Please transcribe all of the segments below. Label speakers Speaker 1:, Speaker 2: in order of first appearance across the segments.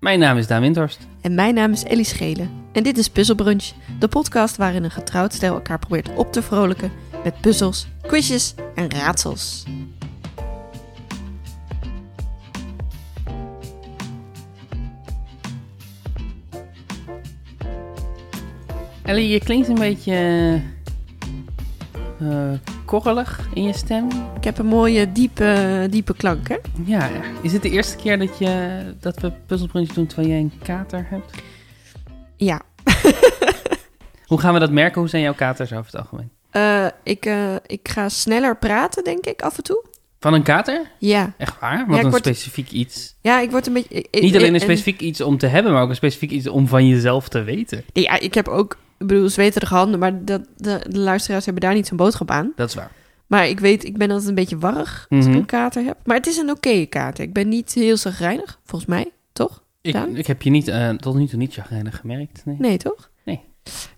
Speaker 1: Mijn naam is Daan Windhorst.
Speaker 2: En mijn naam is Ellie Schelen. En dit is Puzzelbrunch, de podcast waarin een getrouwd stijl elkaar probeert op te vrolijken met puzzels, quizjes en raadsels.
Speaker 1: Ellie, je klinkt een beetje eh, eh, korrelig in je stem.
Speaker 2: Ik heb een mooie, diepe, diepe klank, hè?
Speaker 1: Ja, is het de eerste keer dat, je, dat we puzzelbrunch doen terwijl jij een kater hebt?
Speaker 2: Ja.
Speaker 1: Hoe gaan we dat merken? Hoe zijn jouw katers over het algemeen?
Speaker 2: Eh, ik, eh, ik ga sneller praten, denk ik, af en toe.
Speaker 1: Van een kater?
Speaker 2: Ja.
Speaker 1: Echt waar?
Speaker 2: Ja,
Speaker 1: Wat
Speaker 2: ik
Speaker 1: een
Speaker 2: word-
Speaker 1: specifiek iets.
Speaker 2: Ja, ik word een beetje... ik- ik-
Speaker 1: Niet alleen
Speaker 2: ik-
Speaker 1: een
Speaker 2: en-
Speaker 1: specifiek iets om te hebben, maar ook een specifiek iets om van jezelf te weten.
Speaker 2: Ja, ik heb ook, ik bedoel, zweterige handen, maar dat, de, de luisteraars hebben daar niet zo'n boodschap aan.
Speaker 1: Dat is waar.
Speaker 2: Maar ik weet, ik ben altijd een beetje warrig als
Speaker 1: Mhm.
Speaker 2: ik een kater heb. Maar het is een oké kater. Ik ben niet heel zagrijnig, volgens mij, toch?
Speaker 1: Ik,
Speaker 2: Daan?
Speaker 1: ik heb je niet, eh, tot nu toe niet chagrijnig gemerkt. Nee.
Speaker 2: Nee, toch?
Speaker 1: Nee.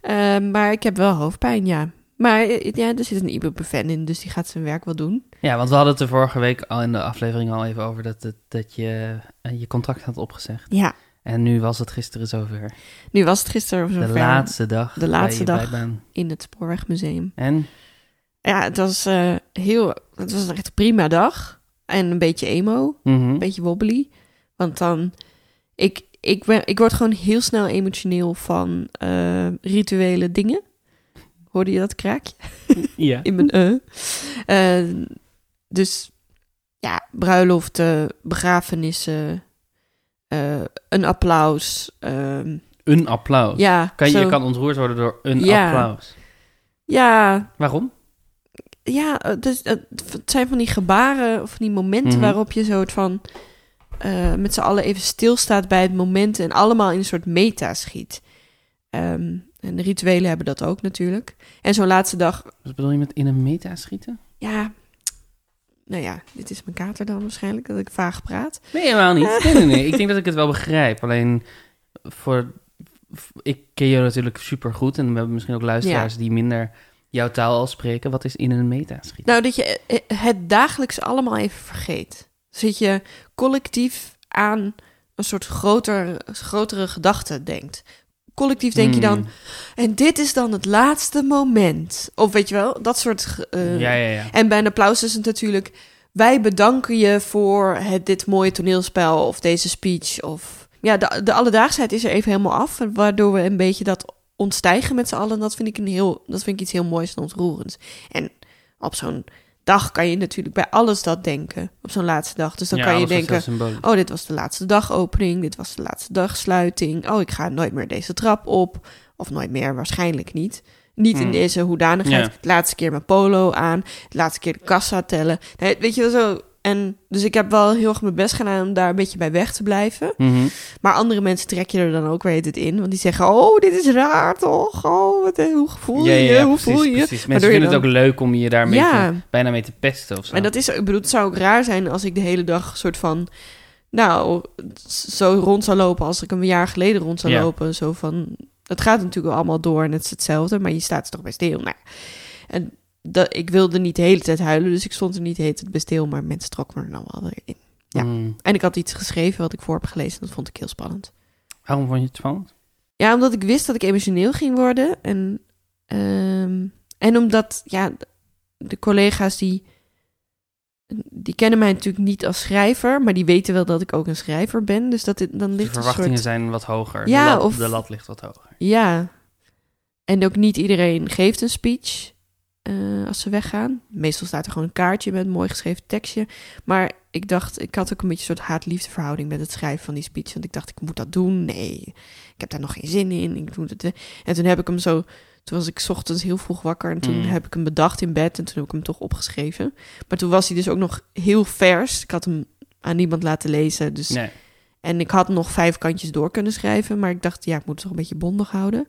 Speaker 2: Eh, maar ik heb wel hoofdpijn, ja. Maar eh, ja, er zit een ibuprofen in, dus die gaat zijn werk wel doen.
Speaker 1: Ja, want we hadden het er vorige week al in de aflevering al even over dat, dat, dat je eh, je contract had opgezegd.
Speaker 2: Ja,
Speaker 1: En nu was het gisteren zover.
Speaker 2: nu was het gisteren
Speaker 1: De
Speaker 2: zover
Speaker 1: laatste dag.
Speaker 2: De laatste
Speaker 1: bij je
Speaker 2: dag.
Speaker 1: bijbaan.
Speaker 2: in het Spoorwegmuseum.
Speaker 1: En
Speaker 2: Ja, het was eh, heel, het was een echt prima dag. En een beetje emo.
Speaker 1: Mhm.
Speaker 2: een beetje wobbly. Want dan, ik, ik, ben, ik word gewoon heel snel emotioneel van eh, rituele dingen. Hoorde je dat kraakje
Speaker 1: ja.
Speaker 2: in mijn eh? Eh, dus ja, bruiloften, begrafenissen, eh, een applaus. ehm,
Speaker 1: een applaus.
Speaker 2: ja,
Speaker 1: Kan, je
Speaker 2: zo-
Speaker 1: kan ontroerd worden door een
Speaker 2: Ja.
Speaker 1: applaus.
Speaker 2: ja,
Speaker 1: Waarom?
Speaker 2: ja eh, dus, eh, het zijn van die gebaren of van die momenten
Speaker 1: Mhm.
Speaker 2: waarop je zo het van... eh, met z'n allen even stilstaat bij het moment en allemaal in een soort meta schiet. Ehm, en de rituelen hebben dat ook natuurlijk. En zo'n laatste dag,
Speaker 1: Wat bedoel je met in een meta schieten?
Speaker 2: ja... Nou ja, dit is mijn kater dan waarschijnlijk, dat ik vaag praat.
Speaker 1: Nee, helemaal niet. Nee, nee, nee. ik denk dat ik het wel begrijp. Alleen voor. f- Ik ken je natuurlijk super goed. En we hebben misschien ook luisteraars die minder jouw taal al spreken. Wat is in een meta schieten?
Speaker 2: Nou, dat je eh, het dagelijks allemaal even vergeet. Zit je collectief aan een soort groter, grotere gedachte denkt. Collectief denk je dan,
Speaker 1: Hmm.
Speaker 2: en dit is dan het laatste moment. Of weet je wel, dat soort ge- eh,
Speaker 1: ja, ja, ja.
Speaker 2: En bij een applaus is het natuurlijk... wij bedanken je voor het, dit mooie toneelspel of deze speech. Of... Ja, de, de alledaagsheid is er even helemaal af... waardoor we een beetje dat ontstijgen met z'n allen. Dat vind ik, een heel, dat vind ik iets heel moois en ontroerends. En op zo'n dag kan je natuurlijk bij alles dat denken. Op zo'n laatste dag. Dus dan
Speaker 1: Ja,
Speaker 2: kan je
Speaker 1: alles was
Speaker 2: denken...
Speaker 1: heel symbolisch.
Speaker 2: Oh, dit was de laatste dagopening. Dit was de laatste dagsluiting. Oh, ik ga nooit meer deze trap op. Of nooit meer, waarschijnlijk niet. Niet in
Speaker 1: Hmm.
Speaker 2: deze hoedanigheid.
Speaker 1: Ja.
Speaker 2: De laatste keer mijn polo aan. De laatste keer de kassa tellen. Nee, weet je wel zo. En dus ik heb wel heel erg mijn best gedaan om daar een beetje bij weg te blijven.
Speaker 1: Mhm.
Speaker 2: Maar andere mensen trek je er dan ook weer het in. Want die zeggen, oh, dit is raar toch? Oh, wat, hoe voel je
Speaker 1: Ja, ja,
Speaker 2: je?
Speaker 1: ja,
Speaker 2: Hoe
Speaker 1: precies,
Speaker 2: voel je je?
Speaker 1: Precies. Mensen
Speaker 2: Waardoor je
Speaker 1: vinden het ook leuk om je daarmee
Speaker 2: Ja.
Speaker 1: te- bijna mee te pesten of zo.
Speaker 2: En dat is, ik bedoel, het zou ook raar zijn als ik de hele dag soort van, nou, zo rond zou lopen als ik een jaar geleden rond zou
Speaker 1: Ja.
Speaker 2: lopen. Zo van, het gaat natuurlijk allemaal door en het is hetzelfde, maar je staat er toch bij stil. Nou, en dat, ik wilde niet de hele tijd huilen, dus ik stond er niet de hele tijd bij stil, maar mensen trokken me er dan wel weer in. ja.
Speaker 1: Mm.
Speaker 2: En ik had iets geschreven wat ik voor heb gelezen, dat vond ik heel spannend.
Speaker 1: Waarom vond je het spannend?
Speaker 2: Ja, omdat ik wist dat ik emotioneel ging worden. En, ehm, en omdat, ja, de collega's die. Die kennen mij natuurlijk niet als schrijver, maar die weten wel dat ik ook een schrijver ben. Dus dat, dit- dan
Speaker 1: De
Speaker 2: ligt een
Speaker 1: verwachtingen
Speaker 2: soort...
Speaker 1: zijn wat hoger.
Speaker 2: Ja,
Speaker 1: de, lat,
Speaker 2: of-
Speaker 1: de lat ligt wat hoger.
Speaker 2: Ja. En ook niet iedereen geeft een speech eh, als ze weggaan. Meestal staat er gewoon een kaartje met een mooi geschreven tekstje. Maar ik dacht, ik had ook een beetje een soort haat-liefde verhouding met het schrijven van die speech. Want ik dacht, ik moet dat doen. Nee, ik heb daar nog geen zin in. Ik doe het. eh. En toen heb ik hem zo... Toen was ik 's ochtends heel vroeg wakker en toen
Speaker 1: Mm.
Speaker 2: heb ik hem bedacht in bed en toen heb ik hem toch opgeschreven. Maar toen was hij dus ook nog heel vers. Ik had hem aan niemand laten lezen, dus
Speaker 1: Nee.
Speaker 2: en ik had nog vijf kantjes door kunnen schrijven, maar ik dacht, ja, ik moet het toch een beetje bondig houden.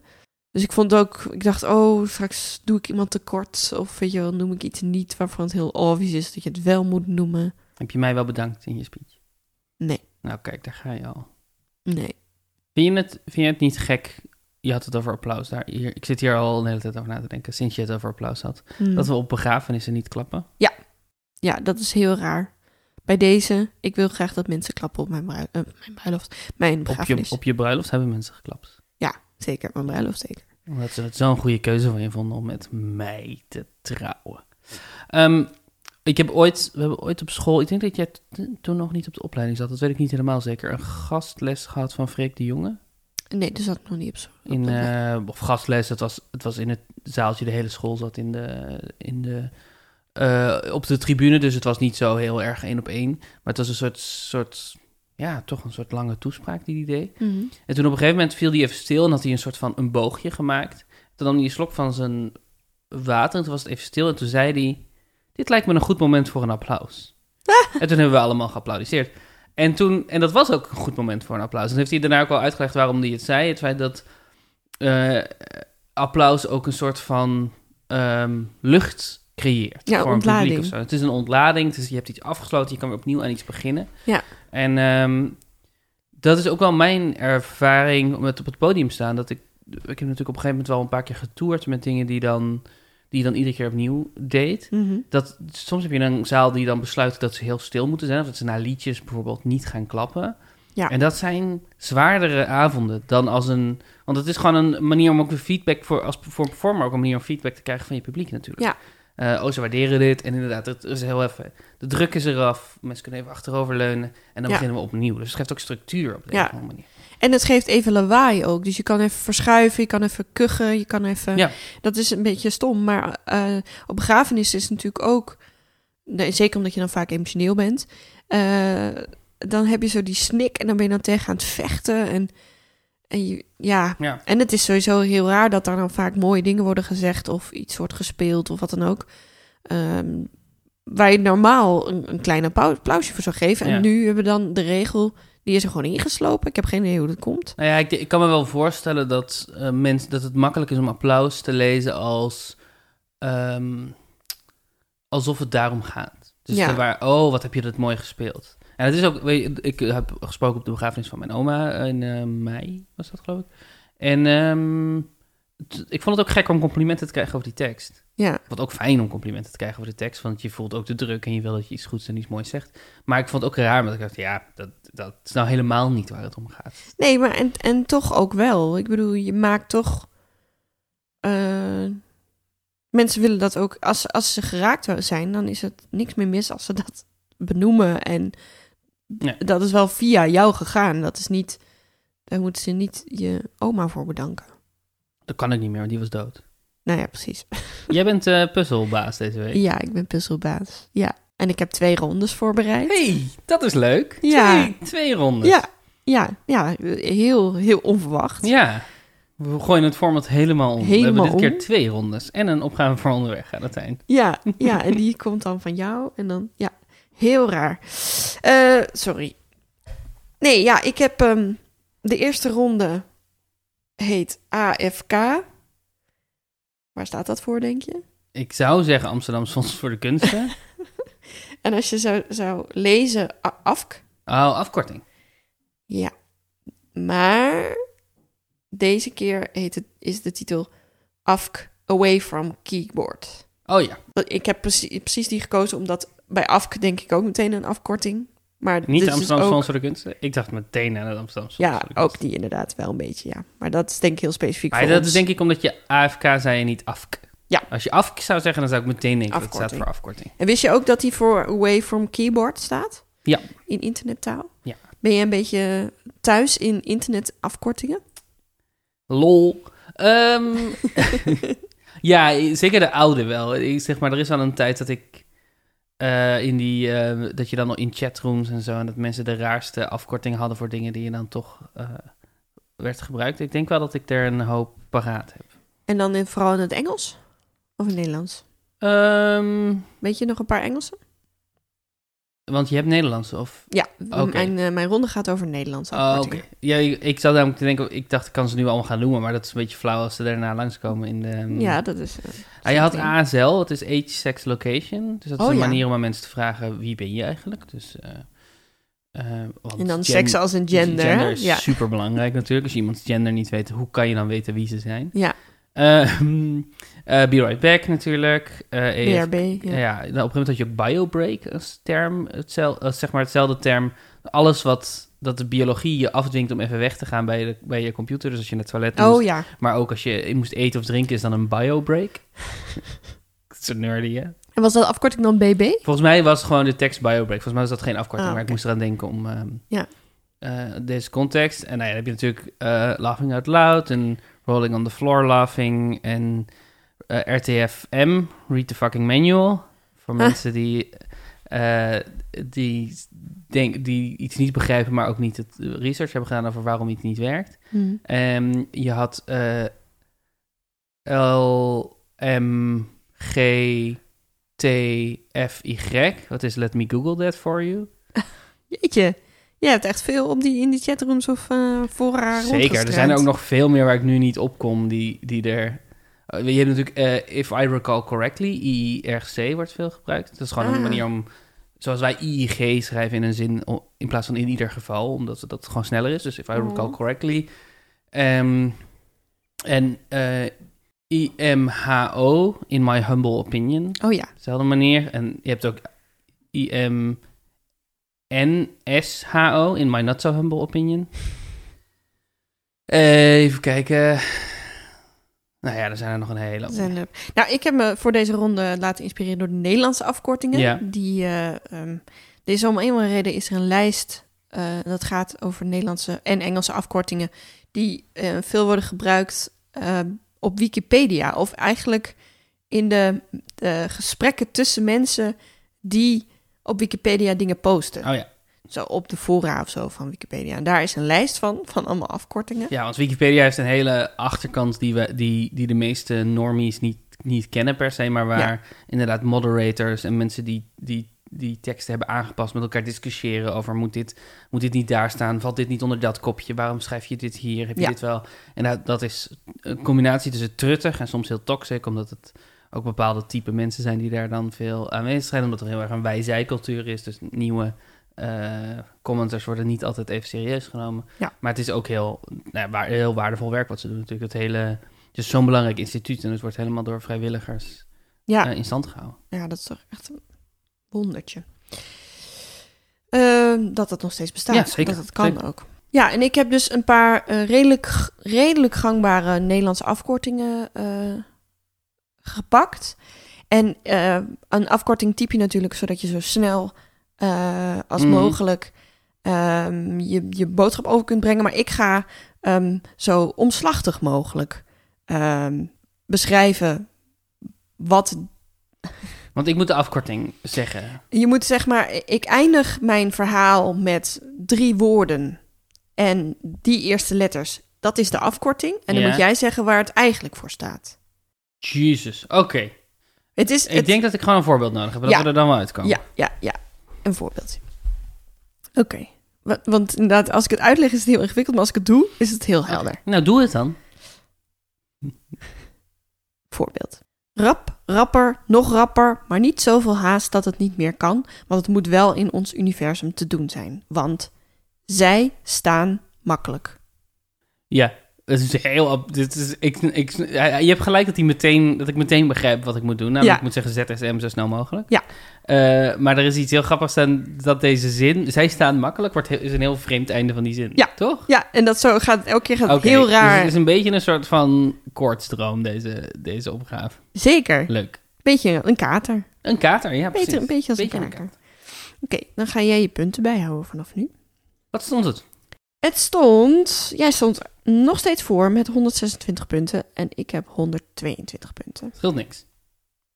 Speaker 2: Dus ik vond ook, ik dacht, oh, straks doe ik iemand tekort. Of weet je wel, noem ik iets niet waarvan het heel obvious is dat je het wel moet noemen.
Speaker 1: Heb je mij wel bedankt in je speech?
Speaker 2: Nee.
Speaker 1: Nou, kijk, daar ga je al.
Speaker 2: Nee.
Speaker 1: Vind je het, vind je het niet gek? Je had het over applaus. Daar, hier, ik zit hier al een hele tijd over na te denken, sinds je het over applaus had.
Speaker 2: Hm.
Speaker 1: Dat we op begrafenissen niet klappen.
Speaker 2: Ja, dat is heel raar. bij deze, ik wil graag dat mensen klappen op mijn, brui- eh, mijn bruiloft. Mijn
Speaker 1: Op je,
Speaker 2: begrafenis.
Speaker 1: op je bruiloft hebben mensen geklapt.
Speaker 2: Zeker, mijn bruiloft zeker.
Speaker 1: Omdat ze het zo'n goede keuze van je vonden om met mij te trouwen. Ehm, ik heb ooit, we hebben ooit op school, ik denk dat jij t- toen nog niet op de opleiding zat, dat weet ik niet helemaal zeker, een gastles gehad van Freek de Jonge.
Speaker 2: Nee, dus dat nog niet op zo. op
Speaker 1: In,
Speaker 2: dat-
Speaker 1: eh, of gastles, het was, het was in het zaaltje, de hele school zat in de, in de, eh, op de tribune, dus het was niet zo heel erg één op één. Maar het was een soort, soort ja, toch een soort lange toespraak die hij deed.
Speaker 2: Mhm.
Speaker 1: En toen op een gegeven moment viel hij even stil en had hij een soort van een boogje gemaakt. Toen nam hij een slok van zijn water en toen was het even stil. En toen zei hij, dit lijkt me een goed moment voor een applaus. en toen hebben we allemaal geapplaudiseerd. En, toen, en dat was ook een goed moment voor een applaus. En heeft hij daarna ook wel uitgelegd waarom hij het zei. Het feit dat eh, applaus ook een soort van ehm, lucht creëert
Speaker 2: Ja,
Speaker 1: voor een
Speaker 2: ontlading.
Speaker 1: publiek of zo. Het is een ontlading, dus je hebt iets afgesloten, je kan weer opnieuw aan iets beginnen.
Speaker 2: Ja.
Speaker 1: En ehm, dat is ook wel mijn ervaring met op het podium staan. Dat ik, ik heb natuurlijk op een gegeven moment wel een paar keer getoerd met dingen die, dan, die je dan iedere keer opnieuw deed.
Speaker 2: Mhm.
Speaker 1: Dat, soms heb je een zaal die dan besluit dat ze heel stil moeten zijn. Of dat ze na liedjes bijvoorbeeld niet gaan klappen.
Speaker 2: Ja.
Speaker 1: En dat zijn zwaardere avonden dan als een... Want het is gewoon een manier om ook weer feedback voor... Als voor een performer ook een manier om feedback te krijgen van je publiek natuurlijk.
Speaker 2: Ja.
Speaker 1: Eh, oh, ze waarderen dit. En inderdaad, het is heel even... De druk is eraf. Mensen kunnen even achteroverleunen. En dan
Speaker 2: Ja.
Speaker 1: beginnen we opnieuw. Dus het geeft ook structuur op de
Speaker 2: Ja.
Speaker 1: een of andere manier.
Speaker 2: En het geeft even lawaai ook. Dus je kan even verschuiven, je kan even kuchen, je kan even...
Speaker 1: Ja.
Speaker 2: Dat is een beetje stom, maar eh, op begrafenis is het natuurlijk ook... Nee, zeker omdat je dan vaak emotioneel bent. eh, dan heb je zo die snik en dan ben je dan tegen aan het vechten. En, en je, ja.
Speaker 1: Ja.
Speaker 2: En het is sowieso heel raar dat daar dan vaak mooie dingen worden gezegd... of iets wordt gespeeld of wat dan ook. Ehm, waar je normaal een, een klein appau- applausje voor zou geven. En
Speaker 1: Ja.
Speaker 2: nu hebben we dan de regel... Die is er gewoon ingeslopen. Ik heb geen idee hoe dat komt.
Speaker 1: Nou ja, ik, ik kan me wel voorstellen dat, eh mensen dat het makkelijk is om applaus te lezen als... ehm, alsof het daarom gaat. Dus
Speaker 2: Ja.
Speaker 1: er waar, oh, wat heb je dat mooi gespeeld. En het is ook, weet je, ik heb gesproken op de begrafenis van mijn oma in eh, mei, was dat geloof ik. En ehm, t- ik vond het ook gek om complimenten te krijgen over die tekst.
Speaker 2: Ja,
Speaker 1: Wat ook fijn om complimenten te krijgen over de tekst, want je voelt ook de druk en je wil dat je iets goeds en iets moois zegt. Maar ik vond het ook raar, want ik dacht, ja, dat, dat is nou helemaal niet waar het om gaat.
Speaker 2: nee, maar en, en toch ook wel. Ik bedoel, je maakt toch. eh, mensen willen dat ook. Als, als ze geraakt zijn, dan is het niks meer mis als ze dat benoemen. En
Speaker 1: Nee.
Speaker 2: dat is wel via jou gegaan. Dat is niet. Daar moeten ze niet je oma voor bedanken.
Speaker 1: Dat kan ik niet meer, want die was dood.
Speaker 2: Nou ja, precies.
Speaker 1: Jij bent eh, puzzelbaas deze week.
Speaker 2: Ja, ik ben puzzelbaas. Ja. En ik heb twee rondes voorbereid.
Speaker 1: hey, dat is leuk.
Speaker 2: Ja.
Speaker 1: Twee, twee ronden.
Speaker 2: Ja, ja, ja. Heel, heel onverwacht.
Speaker 1: Ja. We gooien het format helemaal om. We hebben
Speaker 2: Helemaal
Speaker 1: dit keer
Speaker 2: om.
Speaker 1: twee rondes en een opgave voor onderweg aan het eind.
Speaker 2: Ja, ja, en die komt dan van jou. En dan, ja, heel raar. Eh, sorry. Nee, ja, ik heb ehm, de eerste ronde heet AFK. Waar staat dat voor, denk je?
Speaker 1: Ik zou zeggen Amsterdam Fonds voor de Kunsten.
Speaker 2: En als je zou, zou lezen, a- AFK.
Speaker 1: Oh, afkorting.
Speaker 2: Ja. Maar deze keer heet het, is de titel AFK Away from Keyboard.
Speaker 1: Oh ja,
Speaker 2: Ik heb precies, precies die gekozen, omdat bij AFK denk ik ook meteen een afkorting. Maar dit
Speaker 1: niet
Speaker 2: is
Speaker 1: Amsterdam
Speaker 2: ook-
Speaker 1: Fonds voor de Kunsten. Ik dacht meteen aan het Amsterdam Fonds
Speaker 2: Ja,
Speaker 1: voor de Kunsten.
Speaker 2: ook die inderdaad wel een beetje, ja. Maar dat is denk ik heel specifiek
Speaker 1: Maar
Speaker 2: voor
Speaker 1: dat
Speaker 2: ons.
Speaker 1: is denk ik omdat je AFK zei en niet AFK.
Speaker 2: Ja.
Speaker 1: Als je AFK zou zeggen, dan zou ik meteen denken dat het staat
Speaker 2: Afkorting.
Speaker 1: voor afkorting.
Speaker 2: En wist je ook dat die voor Away From Keyboard staat?
Speaker 1: Ja.
Speaker 2: In internettaal?
Speaker 1: Ja.
Speaker 2: Ben je een beetje thuis in internetafkortingen?
Speaker 1: Lol. Ehm, ja, zeker de oude wel. Ik zeg maar, er is al een tijd dat ik eh, in die eh, dat je dan al in chatrooms en zo en dat mensen de raarste afkortingen hadden voor dingen die je dan toch eh, werd gebruikt. Ik denk wel dat ik er een hoop paraat heb.
Speaker 2: En dan in, vooral in het Engels? Of in het Nederlands?
Speaker 1: Ehm,
Speaker 2: Weet je nog een paar Engelse?
Speaker 1: want je hebt Nederlandse of?
Speaker 2: Ja,
Speaker 1: Oké.
Speaker 2: mijn, eh, mijn ronde gaat over Nederlandse
Speaker 1: Oh,
Speaker 2: afkortingen.
Speaker 1: oké. Ja, ik, ik zat namelijk te denken, ik dacht ik kan ze nu allemaal gaan noemen, maar dat is een beetje flauw als ze daarna langskomen in de.
Speaker 2: Ja, dat is... eh,
Speaker 1: Ah, je had
Speaker 2: zometeen.
Speaker 1: ASL, het is Age, Sex, Location. Dus dat is
Speaker 2: Oh,
Speaker 1: een
Speaker 2: ja.
Speaker 1: manier om aan mensen te vragen, wie ben je eigenlijk? Dus, eh, eh, want
Speaker 2: En dan
Speaker 1: gen- dus
Speaker 2: seks als een gender. hè?
Speaker 1: is
Speaker 2: ja.
Speaker 1: super belangrijk natuurlijk. Als je iemands gender niet weet, hoe kan je dan weten wie ze zijn?
Speaker 2: Ja.
Speaker 1: Eh, eh, Be Right Back natuurlijk. Eh, EF
Speaker 2: BRB.
Speaker 1: Ja.
Speaker 2: Ja.
Speaker 1: nou, op een gegeven moment had je ook biobreak als term, hetzel, eh, zeg maar hetzelfde term. Alles wat dat de biologie je afdwingt om even weg te gaan bij, de, bij je computer. Dus als je naar het toilet moest,
Speaker 2: Oh ja.
Speaker 1: maar ook als je moest eten of drinken, is dan een biobreak. Dat is een nerdy, hè?
Speaker 2: En was dat afkorting dan BB?
Speaker 1: Volgens mij was gewoon de tekst biobreak. Volgens mij was dat geen afkorting,
Speaker 2: Ah,
Speaker 1: maar ik
Speaker 2: oké.
Speaker 1: moest eraan denken om ehm,
Speaker 2: Ja.
Speaker 1: eh, deze context. En nou ja, dan heb je natuurlijk eh, Laughing Out Loud en Rolling on the Floor Laughing en eh, RTFM, Read the Fucking Manual. Voor
Speaker 2: Huh.
Speaker 1: mensen die, eh, die, denk, die iets niet begrijpen, maar ook niet het research hebben gedaan over waarom iets niet werkt.
Speaker 2: Hm.
Speaker 1: Ehm, je had eh L, M, G, T, F, Y. Wat is Let Me Google That For You?
Speaker 2: Jeetje. Je hebt echt veel op die, in die chatrooms of eh fora
Speaker 1: Zeker, er zijn er ook nog veel meer waar ik nu niet op kom die, die er... Eh, Je hebt natuurlijk, eh, if I recall correctly, IIRC wordt veel gebruikt. Dat is gewoon een
Speaker 2: Ah.
Speaker 1: manier om, zoals wij IIG schrijven in een zin, o- in plaats van in ieder geval, omdat dat gewoon sneller is. Dus if I
Speaker 2: Mhm.
Speaker 1: recall correctly. Ehm, en eh, IMHO, in my humble opinion,
Speaker 2: Oh ja.
Speaker 1: dezelfde manier. En je hebt ook IMNSHO, in my not so humble opinion. Eh, even kijken. Nou ja, er zijn er nog een hele.
Speaker 2: er Zijn er... Nou, ik heb me voor deze ronde laten inspireren door de Nederlandse afkortingen.
Speaker 1: Ja.
Speaker 2: Die, eh ehm deze om een of andere reden is er een lijst eh, dat gaat over Nederlandse en Engelse afkortingen die eh, veel worden gebruikt eh, op Wikipedia of eigenlijk in de, de gesprekken tussen mensen die op Wikipedia dingen posten.
Speaker 1: Oh ja.
Speaker 2: Zo op de fora of zo van Wikipedia. En daar is een lijst van, van allemaal afkortingen.
Speaker 1: ja, want Wikipedia heeft een hele achterkant die, we, die, die de meeste normies niet, niet kennen per se, maar waar
Speaker 2: Ja.
Speaker 1: inderdaad moderators en mensen die, die, die teksten hebben aangepast met elkaar discussiëren over moet dit, moet dit niet daar staan, valt dit niet onder dat kopje, waarom schrijf je dit hier, heb je
Speaker 2: Ja.
Speaker 1: dit wel? En dat, dat is een combinatie tussen truttig en soms heel toxic, omdat het ook bepaalde type mensen zijn die daar dan veel aanwezig zijn, omdat er heel erg een wij-zij-cultuur is, dus nieuwe eh, commenters worden niet altijd even serieus genomen.
Speaker 2: Ja.
Speaker 1: Maar het is ook heel, nou, ja, waar, heel waardevol werk wat ze doen natuurlijk. Het, hele, het is zo'n belangrijk instituut en het wordt helemaal door vrijwilligers
Speaker 2: Ja,
Speaker 1: eh, in stand gehouden.
Speaker 2: ja dat is toch echt een wondertje. Ehm, dat dat nog steeds bestaat.
Speaker 1: Ja, zeker,
Speaker 2: Dat het kan
Speaker 1: zeker.
Speaker 2: ook. Ja, en ik heb dus een paar eh, redelijk, g- redelijk gangbare Nederlandse afkortingen eh, gepakt. En eh, een afkorting typ je natuurlijk zodat je zo snel eh, als
Speaker 1: Mhm.
Speaker 2: mogelijk ehm, je, je boodschap over kunt brengen. Maar ik ga ehm, zo omslachtig mogelijk ehm, beschrijven wat
Speaker 1: Want ik moet de afkorting zeggen.
Speaker 2: je moet zeg maar, ik eindig mijn verhaal met drie woorden en die eerste letters. Dat is de afkorting. En dan
Speaker 1: Ja.
Speaker 2: moet jij zeggen waar het eigenlijk voor staat.
Speaker 1: Jezus, oké.
Speaker 2: Het is.
Speaker 1: Ik
Speaker 2: het-
Speaker 1: denk dat ik gewoon een voorbeeld nodig heb, dat
Speaker 2: Ja.
Speaker 1: we er dan wel uitkomen.
Speaker 2: Ja, ja, ja. Een voorbeeldje. Oké. Wa- Want inderdaad, als ik het uitleg is het heel ingewikkeld, maar als ik het doe, is het heel helder.
Speaker 1: Nou, doe het dan.
Speaker 2: Voorbeeld. Rap, rapper, nog rapper, maar niet zoveel haast dat het niet meer kan, want het moet wel in ons universum te doen zijn. Want zij staan makkelijk.
Speaker 1: Ja, het is heel... ab- Dit is, ik, ik, ja, je hebt gelijk dat, hij meteen, dat ik meteen begrijp wat ik moet doen. Namelijk,
Speaker 2: Ja.
Speaker 1: ik moet zeggen ZSM zo snel mogelijk.
Speaker 2: Ja.
Speaker 1: Eh, maar er is iets heel grappigs aan dat deze zin... Zij staan makkelijk, wordt heel- is een heel vreemd einde van die zin.
Speaker 2: Ja.
Speaker 1: Toch?
Speaker 2: Ja, en dat zo gaat elke keer gaat het
Speaker 1: Oké,
Speaker 2: heel
Speaker 1: dus
Speaker 2: raar.
Speaker 1: het is een beetje een soort van koortsdroom, deze, deze opgave.
Speaker 2: Zeker.
Speaker 1: Leuk.
Speaker 2: Beetje een kater.
Speaker 1: Een kater, ja precies.
Speaker 2: Beter, een beetje als
Speaker 1: Beetje
Speaker 2: een
Speaker 1: een
Speaker 2: kater. Oké, dan ga jij je punten bijhouden vanaf nu.
Speaker 1: Wat stond het?
Speaker 2: Het stond, jij stond nog steeds voor met 126 punten en ik heb 122 punten.
Speaker 1: Het scheelt niks.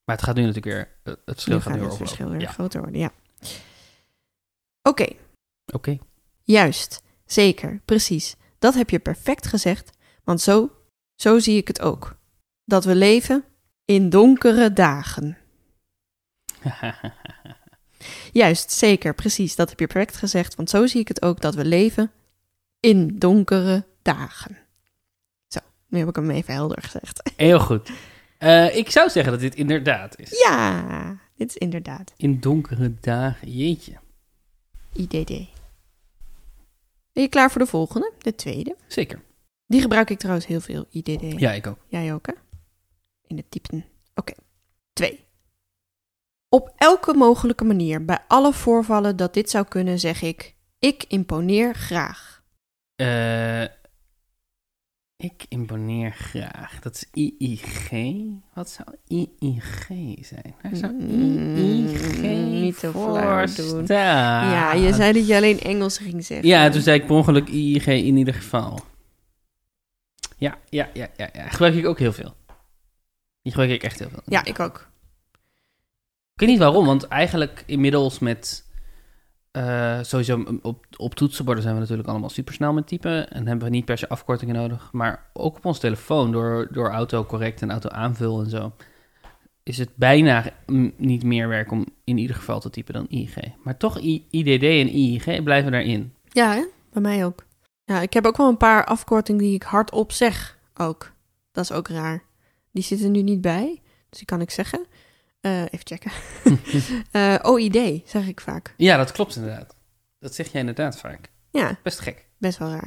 Speaker 1: Maar het gaat nu natuurlijk weer... Het het verschil
Speaker 2: nu
Speaker 1: gaat
Speaker 2: gaat
Speaker 1: nu weer
Speaker 2: het
Speaker 1: oplopen.
Speaker 2: verschil weer
Speaker 1: Ja,
Speaker 2: groter worden, ja. Oké,
Speaker 1: oké.
Speaker 2: juist, zeker, precies. Dat heb je perfect gezegd, want zo, zo zie ik het ook. Dat we leven in donkere dagen. Juist, zeker, precies. Dat heb je perfect gezegd, want zo zie ik het ook dat we leven in donkere dagen. Zo, nu heb ik hem even helder gezegd.
Speaker 1: heel goed. Eh, ik zou zeggen dat dit inderdaad is.
Speaker 2: Ja, dit is inderdaad
Speaker 1: In donkere dagen, jeetje.
Speaker 2: IDD. Ben je klaar voor de volgende? De tweede.
Speaker 1: Zeker.
Speaker 2: Die gebruik ik trouwens heel veel, IDD.
Speaker 1: Ja, ik ook.
Speaker 2: Jij ook, hè? in het typen. Oké. Twee. Op elke mogelijke manier, bij alle voorvallen dat dit zou kunnen, zeg ik: ik imponeer graag.
Speaker 1: Eh, ik imponeer graag. Dat is IIG. Wat zou IIG zijn? Waar zou
Speaker 2: Mm,
Speaker 1: IIG
Speaker 2: niet zo flauw
Speaker 1: voor
Speaker 2: doen.
Speaker 1: staan?
Speaker 2: ja, je zei dat je alleen Engels ging zeggen.
Speaker 1: Ah. Ja, dus toen zei ik per ongeluk IIG in ieder geval. Ja, ja, ja, ja, ja. Gebruik ik ook heel veel. Die gebruik ik echt heel veel.
Speaker 2: Ja, ik ook.
Speaker 1: Ik weet niet waarom, want eigenlijk inmiddels met... eh, sowieso op, op toetsenborden zijn we natuurlijk allemaal supersnel met typen. En hebben we niet per se afkortingen nodig. Maar ook op ons telefoon, door, door autocorrect en auto-aanvul en zo... is het bijna mm, niet meer werk om in ieder geval te typen dan IIG. Maar toch, I- IDD en IIG blijven daarin.
Speaker 2: Ja, hè? bij mij ook. Ja, ik heb ook wel een paar afkortingen die ik hardop zeg ook. Dat is ook raar. Die zitten nu niet bij, dus die kan ik zeggen. Eh, even checken. Eh, OID zeg ik vaak.
Speaker 1: Ja, dat klopt inderdaad. Dat zeg jij inderdaad vaak.
Speaker 2: Ja,
Speaker 1: Best gek.
Speaker 2: best wel raar.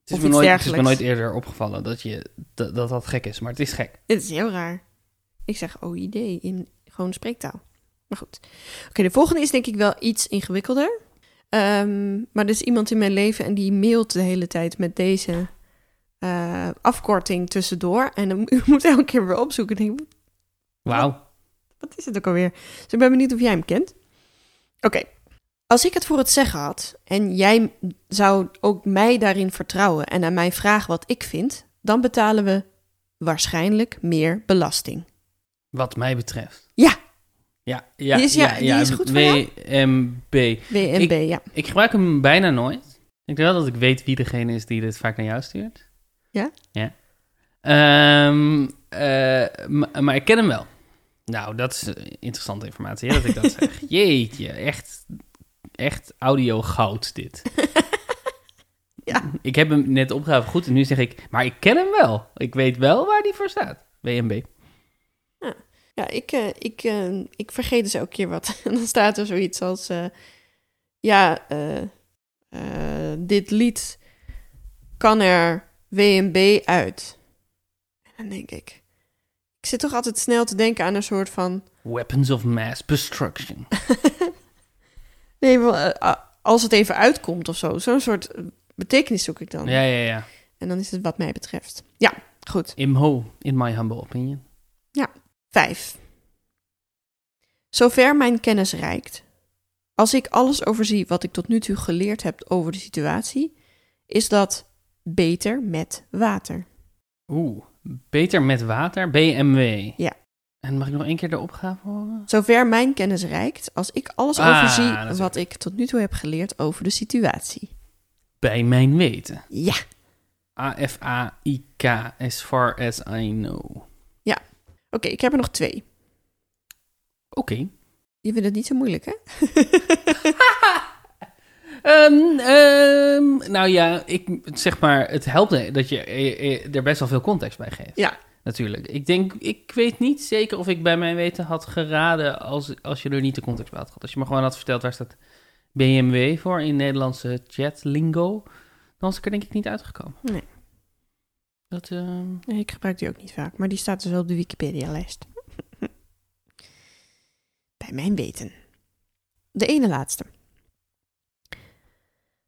Speaker 1: Het is,
Speaker 2: Of
Speaker 1: me
Speaker 2: iets
Speaker 1: nooit, het is me
Speaker 2: dergelijks.
Speaker 1: nooit eerder opgevallen dat, je, dat, dat dat gek is, maar het is gek.
Speaker 2: Dit is heel raar. Ik zeg OID in gewoon spreektaal. Maar goed. Oké, de volgende is denk ik wel iets ingewikkelder. Ehm, maar er is iemand in mijn leven en die mailt de hele tijd met deze eh, afkorting tussendoor. En dan moet- moet elke keer weer opzoeken. Ik Denk,
Speaker 1: Wauw.
Speaker 2: wat is het ook alweer? Dus ik ben benieuwd of jij hem kent. Oké. Als ik het voor het zeggen had en jij zou ook mij daarin vertrouwen en aan mij vragen wat ik vind, dan betalen we waarschijnlijk meer belasting.
Speaker 1: Wat mij betreft.
Speaker 2: Ja.
Speaker 1: Ja, ja,
Speaker 2: Die is- ja,
Speaker 1: ja,
Speaker 2: die
Speaker 1: ja,
Speaker 2: is goed voor jou?
Speaker 1: WMB.
Speaker 2: WMB, ja.
Speaker 1: Ik gebruik hem bijna nooit. Ik denk wel dat ik weet wie degene is die dit vaak naar jou stuurt.
Speaker 2: Ja?
Speaker 1: Ja. Ehm, eh, ma- maar ik ken hem wel. Nou, dat is eh, interessante informatie, hè, dat ik dat zeg. Jeetje, echt, echt audio goud dit.
Speaker 2: Ja.
Speaker 1: Ik heb hem net opgehaald goed en nu zeg ik, maar ik ken hem wel. Ik weet wel waar die voor staat. WMB.
Speaker 2: Ja, ik, eh, ik, eh, ik vergeet dus elke keer wat. En dan staat er zoiets als... eh, ja, eh, eh, dit lied kan er WMB uit. En dan denk ik... Ik zit toch altijd snel te denken aan een soort van...
Speaker 1: Weapons of Mass Destruction.
Speaker 2: Nee, wel, eh, ah, als het even uitkomt of zo. Zo'n soort eh, betekenis zoek ik dan.
Speaker 1: Ja, ja, ja.
Speaker 2: En dan is het wat mij betreft. Ja, goed.
Speaker 1: Imho, in my humble opinion.
Speaker 2: Vijf. Zover mijn kennis reikt, als ik alles overzie wat ik tot nu toe geleerd heb over de situatie, is dat beter met water.
Speaker 1: Oeh, beter met water, BMW.
Speaker 2: Ja.
Speaker 1: En mag ik nog één keer de opgave horen?
Speaker 2: Zover mijn kennis reikt, als ik alles
Speaker 1: Ah, dat
Speaker 2: overzie
Speaker 1: is
Speaker 2: wat ik tot nu toe heb geleerd over de situatie.
Speaker 1: Bij mijn weten.
Speaker 2: Ja, oké.
Speaker 1: A-F-A-I-K, as far as I know. Oké.
Speaker 2: ik heb er nog twee. Je vindt het niet zo moeilijk, hè?
Speaker 1: Ehm, ehm, nou ja, ik, zeg maar, het helpt dat je eh, eh, er best wel veel context bij geeft.
Speaker 2: Ja.
Speaker 1: Natuurlijk. Ik denk, ik weet niet zeker of ik bij mijn weten had geraden als, als je er niet de context bij had gehad. Als je me gewoon had verteld waar staat BMW voor in Nederlandse chatlingo, dan was ik er denk ik niet uitgekomen.
Speaker 2: Nee.
Speaker 1: Dat, ehm,
Speaker 2: Nee, ik gebruik die ook niet vaak, maar die staat dus wel op de Wikipedia-lijst. Bij mijn weten. De ene laatste.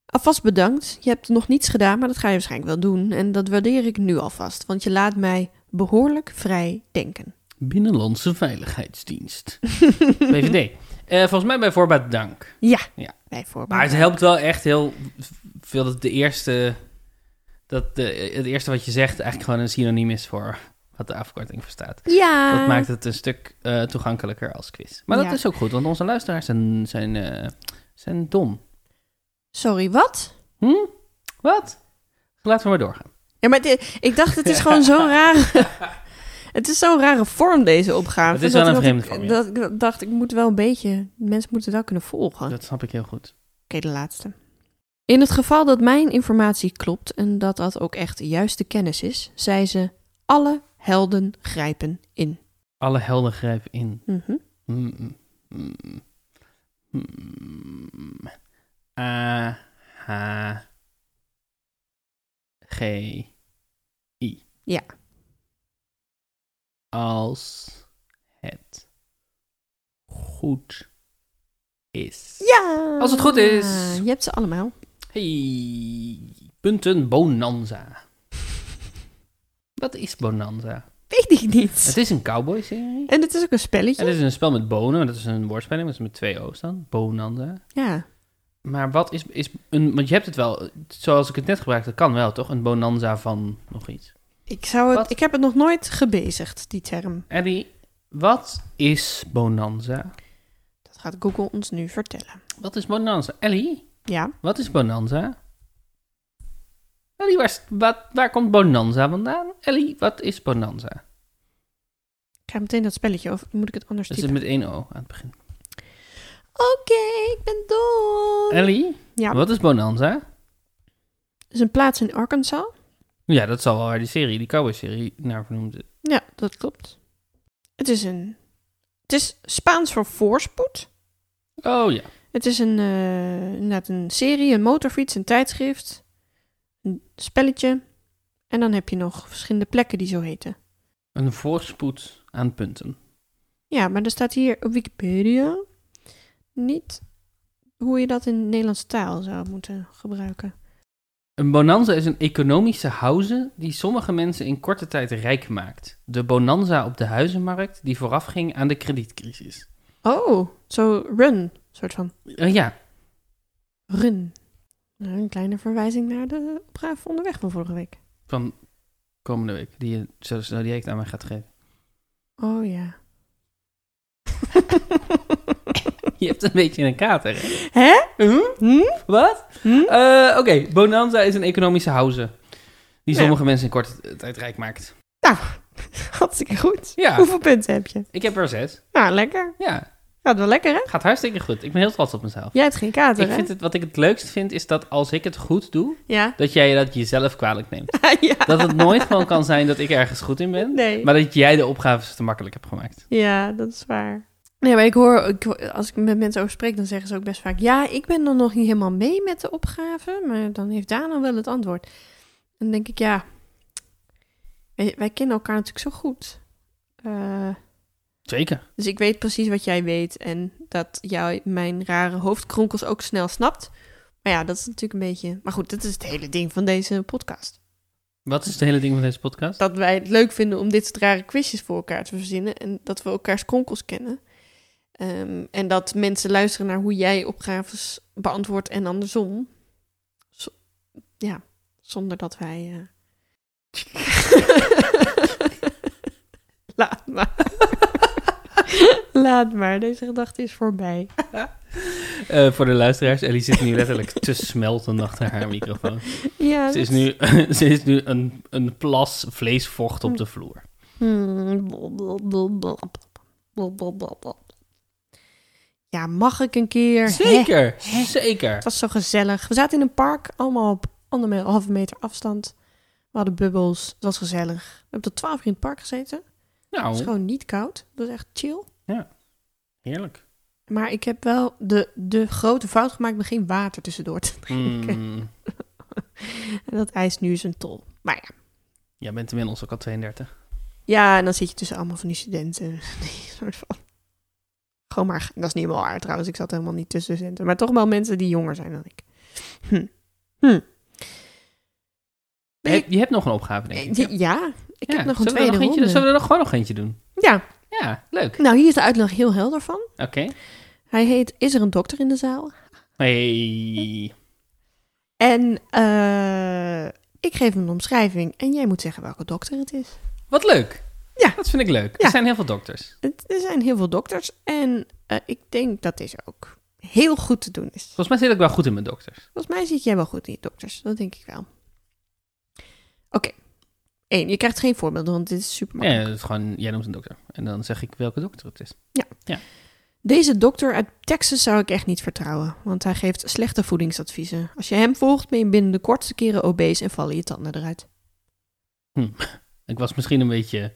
Speaker 2: Alvast bedankt. Je hebt nog niets gedaan, maar dat ga je waarschijnlijk wel doen. En dat waardeer ik nu alvast, want je laat mij behoorlijk vrij denken.
Speaker 1: Binnenlandse Veiligheidsdienst. BVD. Eh, volgens mij bij voorbaat dank.
Speaker 2: Ja,
Speaker 1: Ja.
Speaker 2: bij
Speaker 1: Maar het
Speaker 2: voorbaat.
Speaker 1: helpt wel echt heel veel dat de eerste, dat de, het eerste wat je zegt eigenlijk gewoon een synoniem is voor wat de afkorting voor staat.
Speaker 2: Ja,
Speaker 1: Dat maakt het een stuk eh, toegankelijker als quiz. Maar dat
Speaker 2: Ah. Ja.
Speaker 1: is ook goed, want onze luisteraars zijn, zijn, eh, zijn dom.
Speaker 2: sorry, wat?
Speaker 1: Hm? Wat? Laten we maar doorgaan.
Speaker 2: Ja, maar dit- ik dacht, het is gewoon zo'n rare... Het is zo'n rare vorm, deze opgave.
Speaker 1: Het is wel
Speaker 2: dat-
Speaker 1: een
Speaker 2: dat
Speaker 1: vreemde
Speaker 2: ik-
Speaker 1: vorm, ja.
Speaker 2: Dat ik dacht, ik moet wel een beetje... Mensen moeten wel kunnen volgen.
Speaker 1: Dat snap ik heel goed.
Speaker 2: Oké, de laatste. In het geval dat mijn informatie klopt en dat dat ook echt de juiste kennis is, zei ze: alle helden grijpen in.
Speaker 1: Alle helden grijpen in.
Speaker 2: Mhm.
Speaker 1: Mm, mm, mm, mm. A, H, G, I.
Speaker 2: Ja.
Speaker 1: als het goed is.
Speaker 2: Ja!
Speaker 1: Als het goed is.
Speaker 2: Je hebt ze allemaal.
Speaker 1: Hey, punten Bonanza. Wat is Bonanza?
Speaker 2: Weet ik niet.
Speaker 1: Het is een cowboy-serie.
Speaker 2: En het is ook een
Speaker 1: En
Speaker 2: spelletje.
Speaker 1: het is een spel met bonen, maar dat is een woordspeling, dat is met twee O's dan. Bonanza.
Speaker 2: Ja.
Speaker 1: Maar wat is, is een, want je hebt het wel, zoals ik het net gebruikte, kan wel toch? Een bonanza van nog iets.
Speaker 2: Ik, zou het,
Speaker 1: Wat?
Speaker 2: ik heb het nog nooit gebezigd, die term.
Speaker 1: Eddie, wat is bonanza?
Speaker 2: Dat gaat Google ons nu vertellen.
Speaker 1: Wat is bonanza? Ellie,
Speaker 2: Ja.
Speaker 1: wat is bonanza? Ellie, waar, is- wat, waar komt bonanza vandaan? Ellie, wat is bonanza?
Speaker 2: Ik ga meteen dat spelletje of moet ik het anders
Speaker 1: Dat
Speaker 2: typen?
Speaker 1: is het met één O aan het begin.
Speaker 2: Oké, ik ben dol.
Speaker 1: Ellie,
Speaker 2: Ja.
Speaker 1: wat is bonanza?
Speaker 2: Het is een plaats in Arkansas.
Speaker 1: Ja, dat zal wel waar die serie, die cowboy-serie, naar vernoemd is.
Speaker 2: Ja, dat klopt. Het is een... Het is Spaans voor voorspoed.
Speaker 1: Oh ja.
Speaker 2: Het is een, eh, inderdaad een serie, een motorfiets, een tijdschrift, een spelletje. En dan heb je nog verschillende plekken die zo heten.
Speaker 1: Een voorspoed aan punten.
Speaker 2: Ja, maar er staat hier op Wikipedia niet hoe je dat in Nederlandse taal zou moeten gebruiken.
Speaker 1: Een bonanza is een economische hauze die sommige mensen in korte tijd rijk maakt. De bonanza op de huizenmarkt die voorafging aan de kredietcrisis.
Speaker 2: Oh, zo run, soort van
Speaker 1: Eh, ja,
Speaker 2: run. Nou, een kleine verwijzing naar de opgave onderweg van vorige week.
Speaker 1: van komende week, die je zo snel direct aan mij gaat geven.
Speaker 2: Oh ja.
Speaker 1: Je hebt een beetje een kater, hè?
Speaker 2: Hè?
Speaker 1: Hm?
Speaker 2: Hm?
Speaker 1: Wat?
Speaker 2: Hm?
Speaker 1: Eh, Oké, bonanza is een economische hauze die
Speaker 2: Nou Ja.
Speaker 1: sommige mensen in korte tijd rijk maakt.
Speaker 2: Hartstikke goed.
Speaker 1: Ja,
Speaker 2: Hoeveel punten heb je?
Speaker 1: ik heb er zes.
Speaker 2: Nou, lekker.
Speaker 1: Ja,
Speaker 2: Gaat wel lekker, hè?
Speaker 1: gaat hartstikke goed. Ik ben heel trots op mezelf.
Speaker 2: Jij hebt geen kater,
Speaker 1: Ik
Speaker 2: hè?
Speaker 1: vind het, wat ik het leukst vind, is dat als ik het goed doe,
Speaker 2: Ja.
Speaker 1: dat jij dat jezelf kwalijk neemt.
Speaker 2: ja.
Speaker 1: Dat het nooit gewoon kan zijn dat ik ergens goed in ben.
Speaker 2: Nee.
Speaker 1: Maar dat jij de opgaves te makkelijk hebt gemaakt.
Speaker 2: Ja, dat is waar. Nee, maar ik hoor, ik hoor- als ik met mensen over spreek, dan zeggen ze ook best vaak... Ja, ik ben dan nog niet helemaal mee met de opgave, maar dan heeft Daan al wel het antwoord. Dan denk ik, ja, wij, wij kennen elkaar natuurlijk zo goed. Eh,
Speaker 1: Zeker.
Speaker 2: dus ik weet precies wat jij weet en dat jij mijn rare hoofdkronkels ook snel snapt. Maar ja, dat is natuurlijk een beetje... Maar goed, dat is het hele ding van deze podcast.
Speaker 1: Wat is het hele ding van deze podcast?
Speaker 2: dat wij het leuk vinden om dit soort rare quizjes voor elkaar te verzinnen. En dat we elkaars kronkels kennen. Ehm, en dat mensen luisteren naar hoe jij opgaves beantwoordt en andersom. Zo- ja, zonder dat wij. eh, Laat maar. Laat maar, deze gedachte is voorbij.
Speaker 1: Eh, voor de luisteraars, Ellie zit nu letterlijk te smelten achter haar microfoon.
Speaker 2: Ja,
Speaker 1: Ze is
Speaker 2: dat-
Speaker 1: nu, ze is nu een, een plas vleesvocht op de vloer.
Speaker 2: Hmm, blablabla. Blablabla. Ja, mag ik een keer? Hè?
Speaker 1: Zeker,
Speaker 2: Hè?
Speaker 1: zeker.
Speaker 2: Het was zo gezellig. We zaten in een park, allemaal op anderhalve meter afstand. We hadden bubbels, het was gezellig. We hebben tot twaalf uur in het park gezeten. Het was
Speaker 1: Nou,
Speaker 2: gewoon niet koud. Dat was echt chill.
Speaker 1: heerlijk.
Speaker 2: Maar ik heb wel de, de grote fout gemaakt met geen water tussendoor te drinken.
Speaker 1: Mm,
Speaker 2: En dat eist nu zijn tol. Maar ja.
Speaker 1: jij bent inmiddels ook al 32.
Speaker 2: Ja, en dan zit je tussen allemaal van die studenten. Die soort van. Gewoon maar, dat is niet helemaal waar trouwens. Ik zat helemaal niet tussen studenten. Maar toch wel mensen die jonger zijn dan ik. Hm. Hm. Ben je-
Speaker 1: Heb- je hebt nog een opgave, denk ik.
Speaker 2: Eh, Ja, ik
Speaker 1: Ja,
Speaker 2: heb nog
Speaker 1: zullen we
Speaker 2: een
Speaker 1: er
Speaker 2: tweede
Speaker 1: nog eentje,
Speaker 2: ronde.
Speaker 1: Zullen we er nog gewoon nog eentje doen?
Speaker 2: Ja,
Speaker 1: Ja, leuk.
Speaker 2: nou hier is de uitleg heel helder van.
Speaker 1: Oké.
Speaker 2: Hij heet Is er een dokter in de zaal?
Speaker 1: Hey.
Speaker 2: En eh, ik geef hem een omschrijving en jij moet zeggen welke dokter het is.
Speaker 1: Wat leuk.
Speaker 2: Ja.
Speaker 1: Dat vind ik leuk.
Speaker 2: Ja.
Speaker 1: Er zijn heel veel dokters.
Speaker 2: Het, er zijn heel veel dokters en eh, ik denk dat deze ook heel goed te doen is.
Speaker 1: Volgens mij zit ik wel goed in mijn dokters.
Speaker 2: Volgens mij zit jij wel goed in je dokters, dat denk ik wel. Oké. Eén, je krijgt geen voorbeelden, want dit is super
Speaker 1: Ja, dat is gewoon, jij noemt een dokter. En dan zeg ik welke dokter het is.
Speaker 2: Deze dokter uit Texas zou ik echt niet vertrouwen, want hij geeft slechte voedingsadviezen. Als je hem volgt, ben je binnen de kortste keren obese en vallen je tanden eruit.
Speaker 1: Ik was misschien een beetje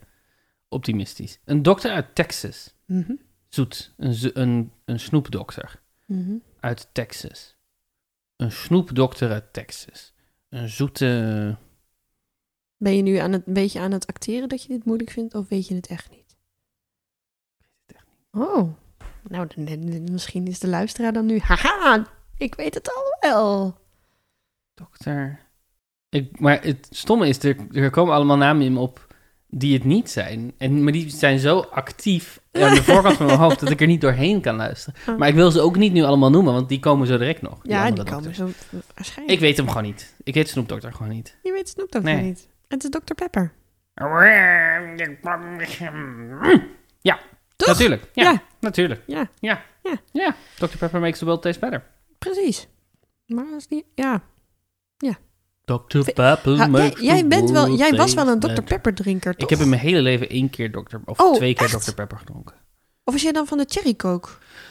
Speaker 1: optimistisch. Een dokter uit Texas.
Speaker 2: Mhm.
Speaker 1: Zoet. Een, zo- een, een snoepdokter
Speaker 2: Mhm.
Speaker 1: uit Texas. Een snoepdokter uit Texas. Een zoete
Speaker 2: Ben je nu aan het, een beetje aan het acteren dat je dit moeilijk vindt of weet je het echt niet? Oh, nou, dan- dan- dan- misschien is de luisteraar dan nu, haha, ik weet het al wel.
Speaker 1: Dokter. Ik, maar het stomme is, er, er komen allemaal namen in me op die het niet zijn. En, maar die zijn zo actief aan de voorkant van mijn hoofd dat ik er niet doorheen kan luisteren.
Speaker 2: Oh.
Speaker 1: Maar ik wil ze ook niet nu allemaal noemen, want die komen zo direct nog.
Speaker 2: Ja,
Speaker 1: andere
Speaker 2: die komen
Speaker 1: dokters.
Speaker 2: zo
Speaker 1: Ik
Speaker 2: waarschijnlijk.
Speaker 1: weet hem gewoon niet. Ik weet Snoop Dokter gewoon niet.
Speaker 2: Je weet Snoop Dogg
Speaker 1: Nee.
Speaker 2: gewoon niet. Het is Dr. Pepper.
Speaker 1: Ja,
Speaker 2: Toch?
Speaker 1: natuurlijk. Ja,
Speaker 2: Ja.
Speaker 1: natuurlijk.
Speaker 2: Ja.
Speaker 1: Ja.
Speaker 2: Ja.
Speaker 1: Ja. Dr. Pepper makes the world taste better.
Speaker 2: Precies. Maar als die, ja.
Speaker 1: Dr.
Speaker 2: Ve-
Speaker 1: Pepper
Speaker 2: Ha, jij,
Speaker 1: makes the
Speaker 2: jij, bent wel,
Speaker 1: world
Speaker 2: jij was wel een
Speaker 1: taste
Speaker 2: Dr.
Speaker 1: better.
Speaker 2: Pepper drinker, toch?
Speaker 1: Ik heb in mijn hele leven één keer Dr. of
Speaker 2: Oh,
Speaker 1: twee keer
Speaker 2: echt?
Speaker 1: Dr. Pepper gedronken.
Speaker 2: Of was jij dan van de cherry coke?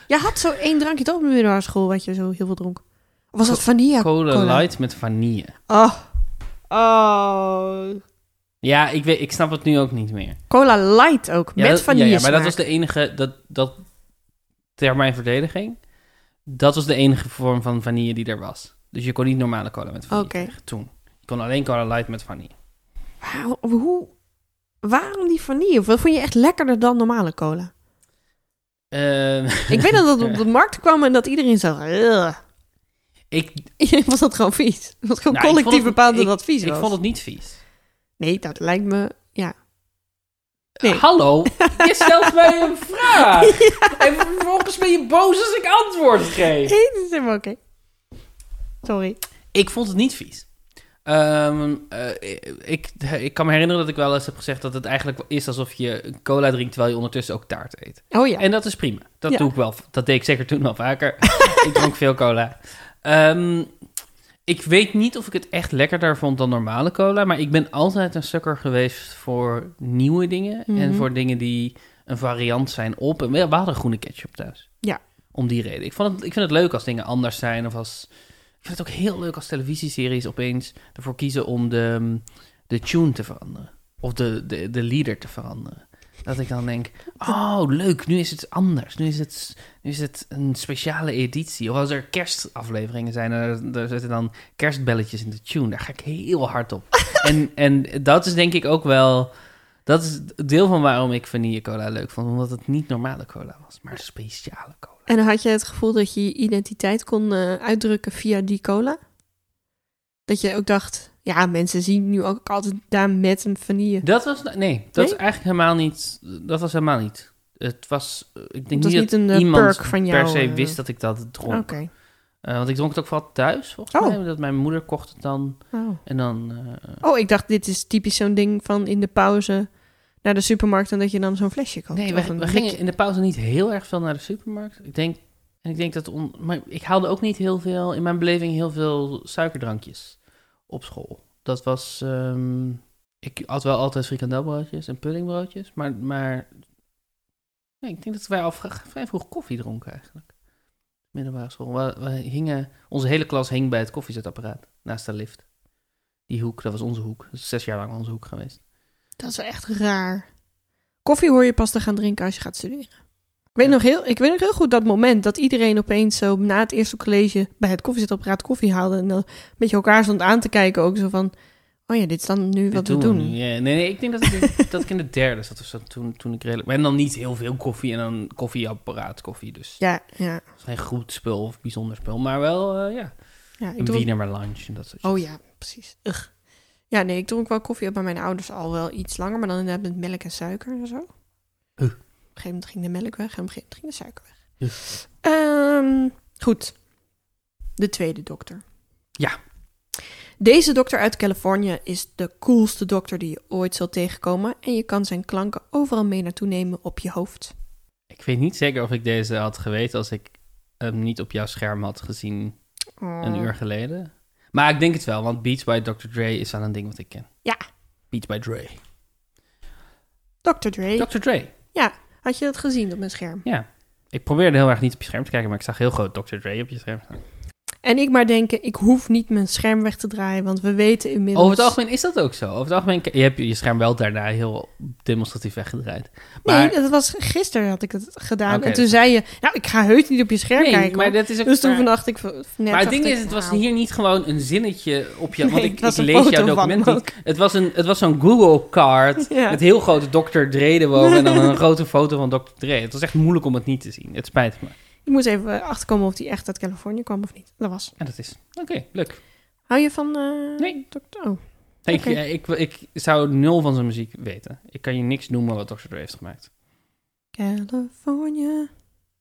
Speaker 2: Jij had zo één drankje toch op de middelbare school wat je zo heel veel dronk. Of was dat
Speaker 1: Co-
Speaker 2: vanilla?
Speaker 1: cola,
Speaker 2: cola.
Speaker 1: light met vanille.
Speaker 2: Oh. Oh.
Speaker 1: Ja, ik, weet, ik snap het nu ook niet meer.
Speaker 2: Cola light ook,
Speaker 1: Ja,
Speaker 2: met
Speaker 1: dat-
Speaker 2: vanille
Speaker 1: Ja, ja, maar dat was
Speaker 2: smaak.
Speaker 1: de enige... Dat, dat, ter mijn verdediging... Dat was de enige vorm van vanille die er was. Dus je kon niet normale cola met vanille
Speaker 2: Oké.
Speaker 1: krijgen toen. Je kon alleen cola light met vanille.
Speaker 2: Waar- hoe, waarom die vanille? Of vond je echt lekkerder dan normale cola?
Speaker 1: Ehm,
Speaker 2: Ik weet dat dat op de markt kwam en dat iedereen zo... "Ugh."
Speaker 1: ik,
Speaker 2: Iedereen was dat gewoon vies. Dat was gewoon
Speaker 1: Nou, ik vond
Speaker 2: collectief
Speaker 1: het-
Speaker 2: bepaald dat
Speaker 1: ik-
Speaker 2: dat vies
Speaker 1: ik
Speaker 2: was.
Speaker 1: vond het niet vies.
Speaker 2: Nee, dat lijkt me... Nee.
Speaker 1: Hallo, je stelt mij een vraag. En vervolgens ben je boos als ik antwoord geef.
Speaker 2: Nee, dat is helemaal oké. Sorry.
Speaker 1: Ik vond het niet vies. Ehm, eh, ik, eh, ik kan me herinneren dat ik wel eens heb gezegd dat het eigenlijk is alsof je een cola drinkt terwijl je ondertussen ook taart eet.
Speaker 2: Oh ja.
Speaker 1: En dat is prima. Dat
Speaker 2: Ja.
Speaker 1: doe ik wel. Dat deed ik zeker toen wel vaker. ik dronk veel cola. Ehm, ik weet niet of ik het echt lekkerder vond dan normale cola, maar ik ben altijd een sukker geweest voor nieuwe dingen en
Speaker 2: Mhm.
Speaker 1: voor dingen die een variant zijn op. En we we hadden groene ketchup thuis.
Speaker 2: Ja.
Speaker 1: Om die reden. Ik, vond het, ik vind het leuk als dingen anders zijn of als ik vind het ook heel leuk als televisieseries opeens ervoor kiezen om de, ehm, de tune te veranderen. Of de, de, de leader te veranderen. Dat ik dan denk, oh leuk, nu is het anders. Nu is het, nu is het een speciale editie. Of als er kerstafleveringen zijn, er, er zitten dan kerstbelletjes in de tune. Daar ga ik heel hard op. en, en dat is denk ik ook wel... Dat is het deel van waarom ik vanille cola leuk vond. Omdat het niet normale cola was, maar speciale cola.
Speaker 2: En dan had je het gevoel dat je je identiteit kon eh, uitdrukken via die cola? Dat je ook dacht, ja, mensen zien nu ook altijd daar met een vanille.
Speaker 1: Dat was, nee, dat
Speaker 2: Nee?
Speaker 1: is eigenlijk helemaal niet, dat was helemaal niet. Het was, eh, ik denk
Speaker 2: Dat is
Speaker 1: niet
Speaker 2: niet
Speaker 1: dat
Speaker 2: een, eh,
Speaker 1: iemand
Speaker 2: perk van jou,
Speaker 1: per se
Speaker 2: eh.
Speaker 1: wist dat ik dat dronk.
Speaker 2: Oké.
Speaker 1: Eh, want ik dronk het ook vooral thuis, volgens
Speaker 2: Oh.
Speaker 1: mij. Dat mijn moeder kocht het dan.
Speaker 2: Oh.
Speaker 1: En dan, eh,
Speaker 2: Oh, ik dacht, dit is typisch zo'n ding van in de pauze naar de supermarkt en dat je dan zo'n flesje koopt.
Speaker 1: nee,
Speaker 2: Of
Speaker 1: we,
Speaker 2: een
Speaker 1: we
Speaker 2: blikje.
Speaker 1: gingen in de pauze niet heel erg veel naar de supermarkt. Ik denk, en ik denk dat, on, maar ik haalde ook niet heel veel, in mijn beleving heel veel suikerdrankjes op school. Dat was, ehm, ik had wel altijd frikandelbroodjes en puddingbroodjes, maar, maar nee, ik denk dat wij al vra- vrij vroeg koffie dronken eigenlijk. Middelbare school. We, we hingen, onze hele klas hing bij het koffiezetapparaat, naast de lift. Die hoek, dat was onze hoek. Dat is zes jaar lang onze hoek geweest.
Speaker 2: Dat is wel echt raar. Koffie hoor je pas te gaan drinken als je gaat studeren. Ik weet,
Speaker 1: Ja.
Speaker 2: nog heel, ik weet nog heel goed dat moment dat iedereen opeens zo na het eerste college bij het koffiezetapparaat koffie haalde. En dan een beetje elkaar stond aan te kijken ook zo van, oh ja, dit is dan nu wat
Speaker 1: Dit
Speaker 2: we doen.
Speaker 1: nu, ja. nee, nee, ik denk dat ik, dat ik in de derde zat of zo, toen, toen ik redelijk... En dan niet heel veel koffie en dan koffieapparaat koffie, dus
Speaker 2: Ja, ja,
Speaker 1: dat is geen goed spul of bijzonder spul, maar wel, eh, ja,
Speaker 2: ja.
Speaker 1: een
Speaker 2: Ik dronk...
Speaker 1: wiener maar lunch en dat soort
Speaker 2: Oh
Speaker 1: shit.
Speaker 2: ja, precies. Ugh. Ja, nee, ik dronk wel koffie bij mijn ouders al wel iets langer, maar dan inderdaad met melk en suiker en zo. Op
Speaker 1: Huh.
Speaker 2: een gegeven moment ging de melk weg en op een gegeven moment ging de suiker weg.
Speaker 1: Huh.
Speaker 2: Ehm, goed. De tweede dokter.
Speaker 1: Ja.
Speaker 2: Deze dokter uit Californië is de coolste dokter die je ooit zal tegenkomen. En je kan zijn klanken overal mee naartoe nemen op je hoofd.
Speaker 1: Ik weet niet zeker of ik deze had geweten als ik hem niet op jouw scherm had gezien een
Speaker 2: Oh.
Speaker 1: uur geleden. Maar ik denk het wel, want Beats by Dr. Dre is wel een ding wat ik ken.
Speaker 2: Ja.
Speaker 1: Beats by Dre.
Speaker 2: Dr. Dre.
Speaker 1: Dr. Dre.
Speaker 2: Had je dat gezien op mijn scherm?
Speaker 1: Ik probeerde heel erg niet op je scherm te kijken, maar ik zag heel groot Dr. Dre op je scherm staan.
Speaker 2: En ik maar denken, ik hoef niet mijn scherm weg te draaien, want we weten inmiddels...
Speaker 1: Over het algemeen is dat ook zo. Over het algemeen, je hebt je scherm wel daarna heel demonstratief weggedraaid. Maar,
Speaker 2: Nee, dat was gisteren had ik het gedaan.
Speaker 1: Oké.
Speaker 2: En toen zei je, nou, ik ga heus niet op je scherm kijken.
Speaker 1: maar
Speaker 2: hoor.
Speaker 1: dat is ook
Speaker 2: dus toen
Speaker 1: maar-
Speaker 2: vannacht ik... v- Net
Speaker 1: Maar het
Speaker 2: dacht
Speaker 1: ding
Speaker 2: ik,
Speaker 1: is, het was
Speaker 2: nou,
Speaker 1: hier niet gewoon een zinnetje op je...
Speaker 2: Nee,
Speaker 1: want ik,
Speaker 2: het was
Speaker 1: ik
Speaker 2: een
Speaker 1: lees
Speaker 2: foto
Speaker 1: jouw
Speaker 2: van
Speaker 1: document
Speaker 2: hem
Speaker 1: niet. Het was, een, het was zo'n Google-card
Speaker 2: Ja.
Speaker 1: met heel grote Dr. Dre erboven... en dan een grote foto van Dr. Dre. Het was echt moeilijk om het niet te zien. Het spijt me.
Speaker 2: Ik moet even eh, achterkomen of die echt uit Californië kwam of niet. Dat was.
Speaker 1: En dat is... Oké, leuk.
Speaker 2: Hou je van... eh,
Speaker 1: Nee.
Speaker 2: Dr. Oh.
Speaker 1: Ik,
Speaker 2: Oké.
Speaker 1: eh, ik, ik zou nul van zijn muziek weten. Ik kan je niks noemen wat Dr. Dre heeft gemaakt.
Speaker 2: California.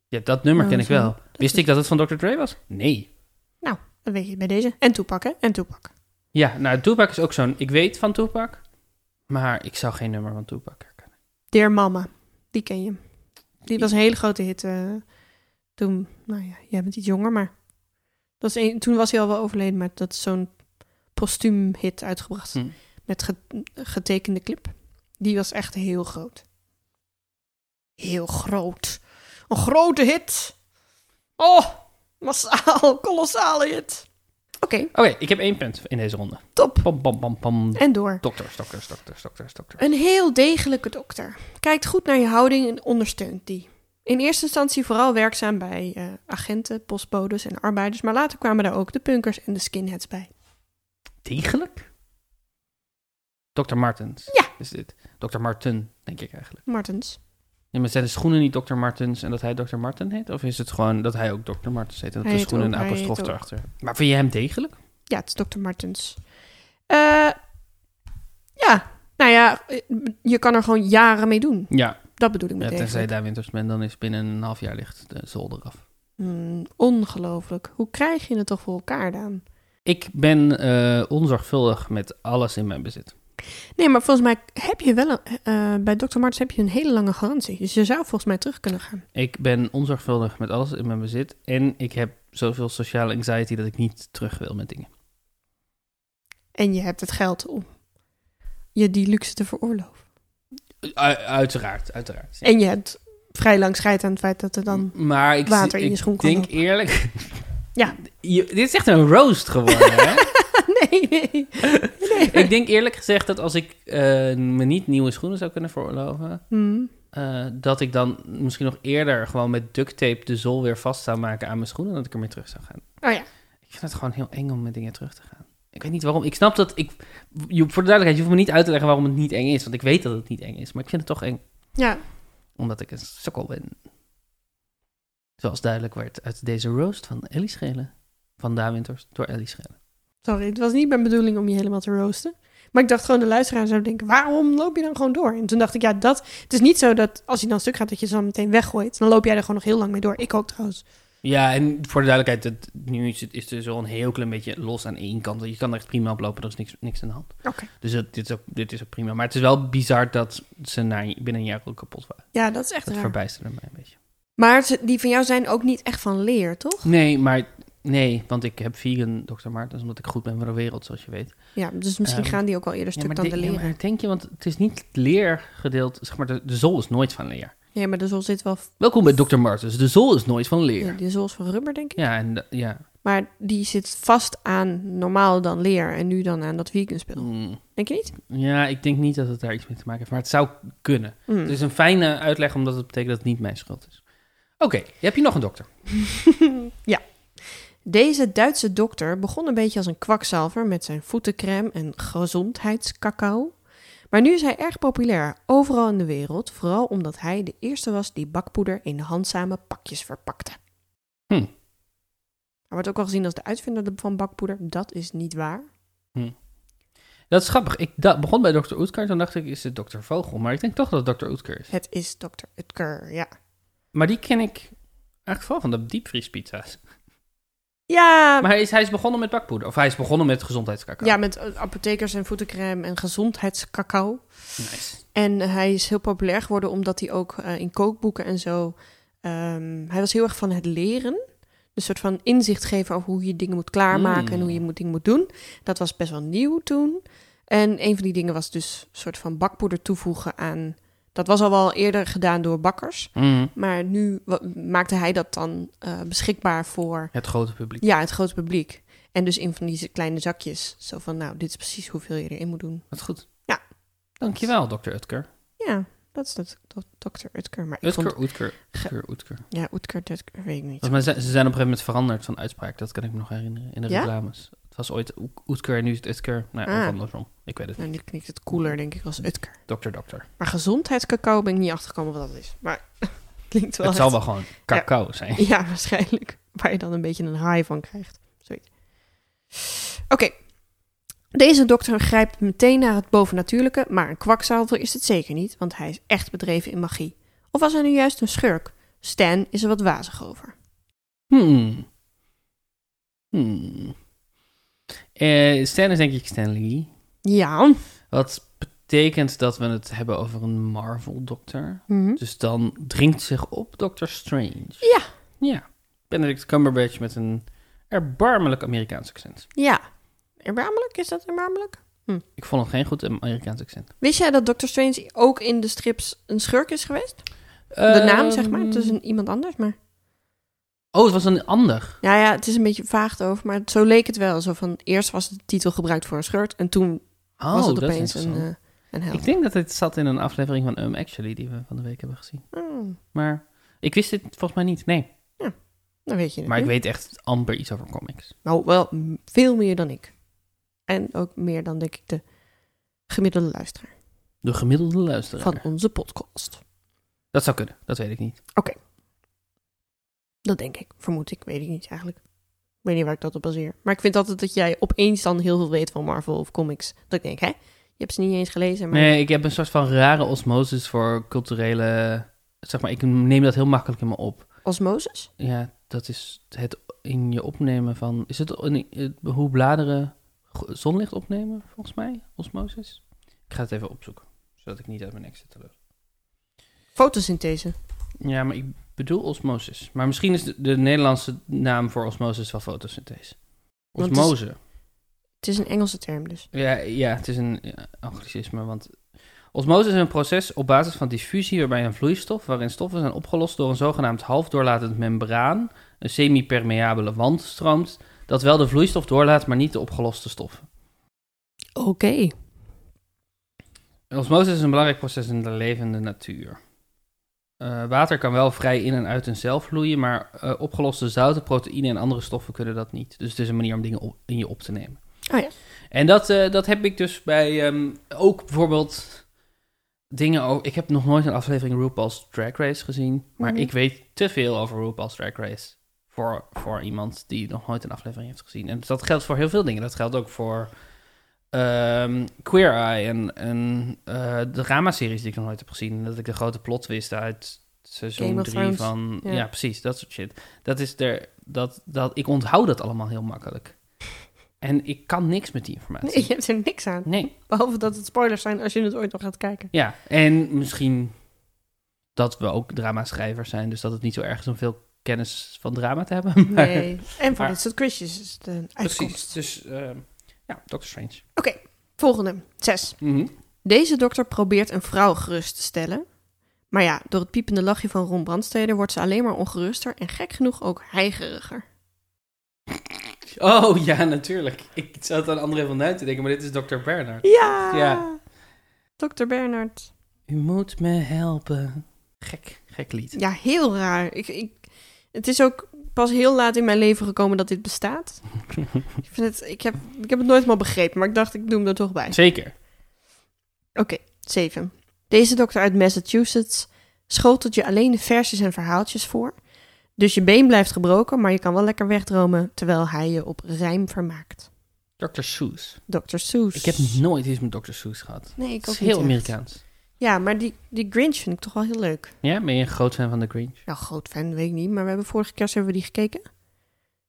Speaker 1: Ja, dat nummer
Speaker 2: Oh,
Speaker 1: ken ik
Speaker 2: zo.
Speaker 1: wel. Wist
Speaker 2: is-
Speaker 1: ik dat het van Dr. Dre was? Nee.
Speaker 2: Dat weet je bij deze. En toepakken. En toepakken.
Speaker 1: Ja, nou, Tupac is ook zo'n... Ik weet van Tupac, maar ik zou geen nummer van Tupac herkennen.
Speaker 2: Dear Mama. Die ken je. Die was een hele grote hit eh, toen. Nou ja, jij bent iets jonger, maar... Dat is een, toen was hij al wel overleden, maar dat is zo'n postuum hit uitgebracht.
Speaker 1: Hm.
Speaker 2: Met ge- getekende clip. Die was echt heel groot. Heel groot. Een grote hit. Oh, massaal. Kolossale hit. Oké,
Speaker 1: Oké, ik heb één punt in deze ronde.
Speaker 2: top.
Speaker 1: Pam, pam, pam, pam.
Speaker 2: En door.
Speaker 1: Dokters, dokters, dokters, dokters, dokters.
Speaker 2: Een heel degelijke dokter. Kijkt goed naar je houding en ondersteunt die. In eerste instantie vooral werkzaam bij eh, agenten, postbodes en arbeiders, maar later kwamen daar ook de punkers en de skinheads bij.
Speaker 1: Degelijk? Dr. Martens.
Speaker 2: Ja.
Speaker 1: Is dit? Dr. Marten, denk ik eigenlijk.
Speaker 2: Martens.
Speaker 1: Ja, maar zijn de schoenen niet Dr. Martens en dat hij Dr. Marten heet? Of is het gewoon dat hij ook Dr. Martens heet en dat
Speaker 2: Hij
Speaker 1: de
Speaker 2: heet
Speaker 1: schoenen
Speaker 2: ook-
Speaker 1: een
Speaker 2: hij heet
Speaker 1: apostrof
Speaker 2: ook.
Speaker 1: erachter? Maar vind je hem degelijk?
Speaker 2: Ja, het is Dr. Martens. Eh, ja, nou ja, eh, je kan er gewoon jaren mee doen.
Speaker 1: Ja.
Speaker 2: Dat bedoel ik met
Speaker 1: ja
Speaker 2: degelijk.
Speaker 1: tenzij daar winters bent, dan is binnen een half jaar ligt de zolder af.
Speaker 2: Hmm, ongelooflijk. Hoe krijg je het toch voor elkaar dan?
Speaker 1: Ik ben eh, onzorgvuldig met alles in mijn bezit.
Speaker 2: Nee, maar volgens mij heb je wel een, eh, bij Dr. Martens heb je een hele lange garantie. Dus je zou volgens mij terug kunnen gaan.
Speaker 1: Ik ben onzorgvuldig met alles in mijn bezit. En ik heb zoveel sociale anxiety dat ik niet terug wil met dingen.
Speaker 2: En je hebt het geld om je die luxe te veroorloven.
Speaker 1: U- uiteraard, uiteraard. ja.
Speaker 2: En je hebt vrij lang scheid aan het feit dat er dan...
Speaker 1: M- maar ik,
Speaker 2: water
Speaker 1: zie-
Speaker 2: in je
Speaker 1: ik
Speaker 2: schoen kan
Speaker 1: denk
Speaker 2: lopen.
Speaker 1: eerlijk...
Speaker 2: Ja.
Speaker 1: Je- dit is echt een roast geworden, hè?
Speaker 2: nee, nee.
Speaker 1: ik denk eerlijk gezegd dat als ik eh, me niet nieuwe schoenen zou kunnen veroorloven...
Speaker 2: Hmm.
Speaker 1: eh, dat ik dan misschien nog eerder gewoon met duct tape de zool weer vast zou maken aan mijn schoenen... dan dat ik ermee terug zou gaan.
Speaker 2: Oh ja.
Speaker 1: Ik vind het gewoon heel eng om met dingen terug te gaan. Ik weet niet waarom. Ik snap dat ik... Je, voor de duidelijkheid, je hoeft me niet uit te leggen waarom het niet eng is. Want ik weet dat het niet eng is. Maar ik vind het toch eng,
Speaker 2: Ja,
Speaker 1: omdat ik een sukkel ben. Zoals duidelijk werd uit deze roast van Ellie Schelen. Van Daan Winters door Ellie Schelen.
Speaker 2: sorry. Het was niet mijn bedoeling om je helemaal te roosten. Maar ik dacht gewoon, de luisteraar zou denken... waarom loop je dan gewoon door? En toen dacht ik, ja, dat... Het is niet zo dat als hij dan stuk gaat, dat je ze dan meteen weggooit. Dan loop jij er gewoon nog heel lang mee door. Ik ook trouwens.
Speaker 1: Ja, en voor de duidelijkheid, dat, nu is het, is er zo'n heel klein beetje los aan één kant. Je kan er echt prima op lopen, er is niks, niks aan de hand.
Speaker 2: Oké.
Speaker 1: Dus dat, dit, is ook, dit is ook prima. Maar het is wel bizar dat ze na, binnen een jaar ook kapot waren.
Speaker 2: Ja, dat is echt
Speaker 1: Dat
Speaker 2: raar.
Speaker 1: verbijsterde mij een beetje.
Speaker 2: Maar ze- die van jou zijn ook niet echt van leer, toch?
Speaker 1: Nee, maar nee, want ik heb vegan Dr. Martens, omdat ik goed ben voor de wereld, zoals je weet.
Speaker 2: Ja, dus misschien
Speaker 1: Ehm,
Speaker 2: gaan die ook al eerder stuk
Speaker 1: maar
Speaker 2: dan de
Speaker 1: de-
Speaker 2: leren.
Speaker 1: maar denk je, want het is niet het leergedeelte, zeg maar, de, de zool is nooit van leer.
Speaker 2: Nee, maar de zool zit wel...
Speaker 1: Welkom bij Dr. Martens, de zool is nooit van leer.
Speaker 2: Ja, de zool is van rubber, denk ik.
Speaker 1: Ja, en da- ja.
Speaker 2: Maar die zit vast aan normaal dan leer en nu dan aan dat vegan spul.
Speaker 1: Mm.
Speaker 2: Denk je niet?
Speaker 1: ja, ik denk niet dat het daar iets mee te maken heeft, maar het zou kunnen.
Speaker 2: Hmm.
Speaker 1: Het is een fijne uitleg, omdat het betekent dat het niet mijn schuld is. Oké, heb je nog een dokter?
Speaker 2: Deze Duitse dokter begon een beetje als een kwakzalver met zijn voetencrème en gezondheidscacao. Maar nu is hij erg populair, overal in de wereld. Vooral omdat hij de eerste was die bakpoeder in handzame pakjes verpakte.
Speaker 1: Hm.
Speaker 2: Hij wordt ook al gezien als de uitvinder van bakpoeder. Dat is niet waar.
Speaker 1: Dat is grappig. Ik da- begon bij dokter Oetker, toen dacht ik, is het dokter Vogel? Maar ik denk toch dat het dokter Oetker is.
Speaker 2: Het is dokter Utker, ja.
Speaker 1: Maar die ken ik eigenlijk vooral van de diepvriespizza's.
Speaker 2: Ja,
Speaker 1: Maar hij is, hij is begonnen met bakpoeder. Of hij is begonnen met gezondheidskakao.
Speaker 2: ja met eh, apothekers en voetencrème en gezondheidscacao.
Speaker 1: Nice.
Speaker 2: En hij is heel populair geworden omdat hij ook eh, in kookboeken en zo. ehm, hij was heel erg van het leren. Een soort van inzicht geven over hoe je dingen moet klaarmaken en
Speaker 1: Mm.
Speaker 2: hoe je moet, dingen moet doen. Dat was best wel nieuw toen. En een van die dingen was dus een soort van bakpoeder toevoegen aan Dat was al wel eerder gedaan door bakkers.
Speaker 1: Mhm.
Speaker 2: Maar nu wa- maakte hij dat dan eh, beschikbaar voor
Speaker 1: Het grote publiek.
Speaker 2: ja, het grote publiek. En dus in van die kleine zakjes. Zo van, nou, dit is precies hoeveel je erin moet doen.
Speaker 1: Wat goed.
Speaker 2: Ja.
Speaker 1: Dankjewel, dokter Utker.
Speaker 2: Ja, dat is dat, dat Dr. Utker. Maar ik vond...
Speaker 1: Utker, Utker, Utker, Utker.
Speaker 2: Ja, Utker, Utker, weet ik niet.
Speaker 1: Volgens mij zijn, ze zijn op een gegeven moment veranderd van uitspraak. Dat kan ik me nog herinneren in de
Speaker 2: Ja?
Speaker 1: reclames. Het was ooit Oet- Oetker en nu is het Utker. Nou, ja,
Speaker 2: Ah.
Speaker 1: of andersom. Ik weet het niet.
Speaker 2: Nou, nu klinkt het cooler, denk ik, als Utker.
Speaker 1: Dokter, dokter.
Speaker 2: Maar gezondheidscacao ben ik niet achtergekomen wat dat is. Maar klinkt wel...
Speaker 1: het zal wel gewoon cacao zijn.
Speaker 2: Ja, waarschijnlijk. Waar je dan een beetje een high van krijgt. Zoiets. Oké. Deze dokter grijpt meteen naar het bovennatuurlijke, maar een kwakzalver is het zeker niet, want hij is echt bedreven in magie. Of was hij nu juist een schurk? Stan is er wat wazig over.
Speaker 1: Hmm. Hmm. Eh, Stan is denk ik Stanley.
Speaker 2: Ja.
Speaker 1: Wat betekent dat we het hebben over een Marvel-dokter.
Speaker 2: Mhm.
Speaker 1: Dus dan dringt zich op Doctor Strange.
Speaker 2: Ja.
Speaker 1: Ja. Benedict Cumberbatch met een erbarmelijk Amerikaans accent.
Speaker 2: Ja. Erbarmelijk? Is dat erbarmelijk?
Speaker 1: Ik vond hem geen goed Amerikaans accent.
Speaker 2: Wist jij dat Doctor Strange ook in de strips een schurk is geweest?
Speaker 1: Ehm,
Speaker 2: De naam, zeg maar. Het is een, iemand anders, maar...
Speaker 1: Oh, het was een ander.
Speaker 2: Nou ja, het is een beetje vaag over, maar zo leek het wel. Zo van, eerst was de titel gebruikt voor een schurk en toen
Speaker 1: Oh,
Speaker 2: was het
Speaker 1: dat is
Speaker 2: opeens een,
Speaker 1: interessant.
Speaker 2: eh een held.
Speaker 1: Ik denk dat dit zat in een aflevering van Um Actually die we van de week hebben gezien.
Speaker 2: Hmm,
Speaker 1: Maar ik wist dit volgens mij niet, nee.
Speaker 2: dan weet je het
Speaker 1: Maar ik
Speaker 2: nu.
Speaker 1: weet echt amper iets over comics.
Speaker 2: Nou, wel m- veel meer dan ik. En ook meer dan, denk ik, de gemiddelde luisteraar
Speaker 1: De gemiddelde luisteraar.
Speaker 2: van onze podcast.
Speaker 1: Dat zou kunnen, dat weet ik niet.
Speaker 2: Dat denk ik, vermoed ik, weet ik niet eigenlijk. Ik weet niet waar ik dat op baseer. Maar ik vind altijd dat jij opeens dan heel veel weet van Marvel of comics. Dat ik denk, hè? Je hebt ze niet eens gelezen, maar...
Speaker 1: Nee, ik heb een soort van rare osmosis voor culturele... Zeg maar, ik neem dat heel makkelijk in me op.
Speaker 2: Osmosis?
Speaker 1: Ja, dat is het in je opnemen van... Is het in- eh, hoe bladeren go- zonlicht opnemen, volgens mij? Osmosis? Ik ga het even opzoeken, zodat ik niet uit mijn nek zit te lullen.
Speaker 2: Fotosynthese.
Speaker 1: Ja, maar ik bedoel osmosis. Maar misschien is de, de Nederlandse naam voor osmosis wel fotosynthese.
Speaker 2: Want het is-
Speaker 1: Osmose.
Speaker 2: Het is een Engelse term dus.
Speaker 1: Ja, ja, het is een ja, anglicisme, want osmose is een proces op basis van diffusie waarbij een vloeistof waarin stoffen zijn opgelost door een zogenaamd halfdoorlatend membraan, een semi-permeabele wand stroomt, dat wel de vloeistof doorlaat, maar niet de opgeloste stoffen.
Speaker 2: Oké.
Speaker 1: Osmose is een belangrijk proces in de levende natuur. Eh, water kan wel vrij in en uit een cel vloeien, maar eh, opgeloste zouten, proteïnen en andere stoffen kunnen dat niet. Dus het is een manier om dingen op- in je op te nemen.
Speaker 2: Oh ja.
Speaker 1: En dat, eh, dat heb ik dus bij ehm, ook bijvoorbeeld dingen over... Ik heb nog nooit een aflevering RuPaul's Drag Race gezien, maar
Speaker 2: Mhm.
Speaker 1: ik weet te veel over RuPaul's Drag Race voor, voor iemand die nog nooit een aflevering heeft gezien. En dat geldt voor heel veel dingen. Dat geldt ook voor ehm, Queer Eye en, en eh, de dramaseries die ik nog nooit heb gezien. En Dat ik de grote plot wist uit
Speaker 2: Game
Speaker 1: seizoen
Speaker 2: of
Speaker 1: 3
Speaker 2: Thrones,
Speaker 1: van...
Speaker 2: ja.
Speaker 1: Ja. precies. Dat soort shit. Dat is er... Dat, dat, ik onthoud dat allemaal heel makkelijk. En ik kan niks met die informatie.
Speaker 2: Nee, je hebt er niks aan.
Speaker 1: Nee,
Speaker 2: Behalve dat het spoilers zijn als je het ooit nog gaat kijken.
Speaker 1: ja. En misschien dat we ook dramaschrijvers zijn, dus dat het niet zo erg is om veel kennis van drama te hebben. maar-
Speaker 2: Nee. En voor
Speaker 1: Maar-
Speaker 2: dit soort quizjes is het een uitkomst.
Speaker 1: Precies. Dus ehm, ja, Doctor Strange.
Speaker 2: Oké, volgende. Zes.
Speaker 1: Mhm.
Speaker 2: Deze dokter probeert een vrouw gerust te stellen. Maar ja, door het piepende lachje van Ron Brandsteder wordt ze alleen maar ongeruster en gek genoeg ook heigeriger.
Speaker 1: Oh ja, natuurlijk. Ik zat aan André van Duin te denken, maar dit is Dr. Bernard.
Speaker 2: Ja!
Speaker 1: Ja.
Speaker 2: Dokter Bernard.
Speaker 1: U moet me helpen. Gek, gek lied.
Speaker 2: Ja, heel raar. Ik, ik, het is ook pas heel laat in mijn leven gekomen dat dit bestaat. ik, vind het, ik, heb, ik heb het nooit helemaal begrepen, maar ik dacht, ik doe hem er toch bij.
Speaker 1: Zeker.
Speaker 2: Oké, 7. Deze dokter uit Massachusetts schotelt je alleen de versjes en verhaaltjes voor. Dus je been blijft gebroken, maar je kan wel lekker wegdromen terwijl hij je op rijm vermaakt.
Speaker 1: Dr. Seuss.
Speaker 2: Dr. Seuss.
Speaker 1: Ik heb nooit iets met Dr. Seuss gehad.
Speaker 2: Nee, ik
Speaker 1: Het
Speaker 2: ook
Speaker 1: is heel
Speaker 2: niet echt.
Speaker 1: Amerikaans.
Speaker 2: Ja, maar die, die Grinch vind ik toch wel heel leuk.
Speaker 1: Ja, ben je een groot fan van The Grinch?
Speaker 2: Nou, groot fan, weet ik niet, maar we hebben vorige kerst hebben we die gekeken.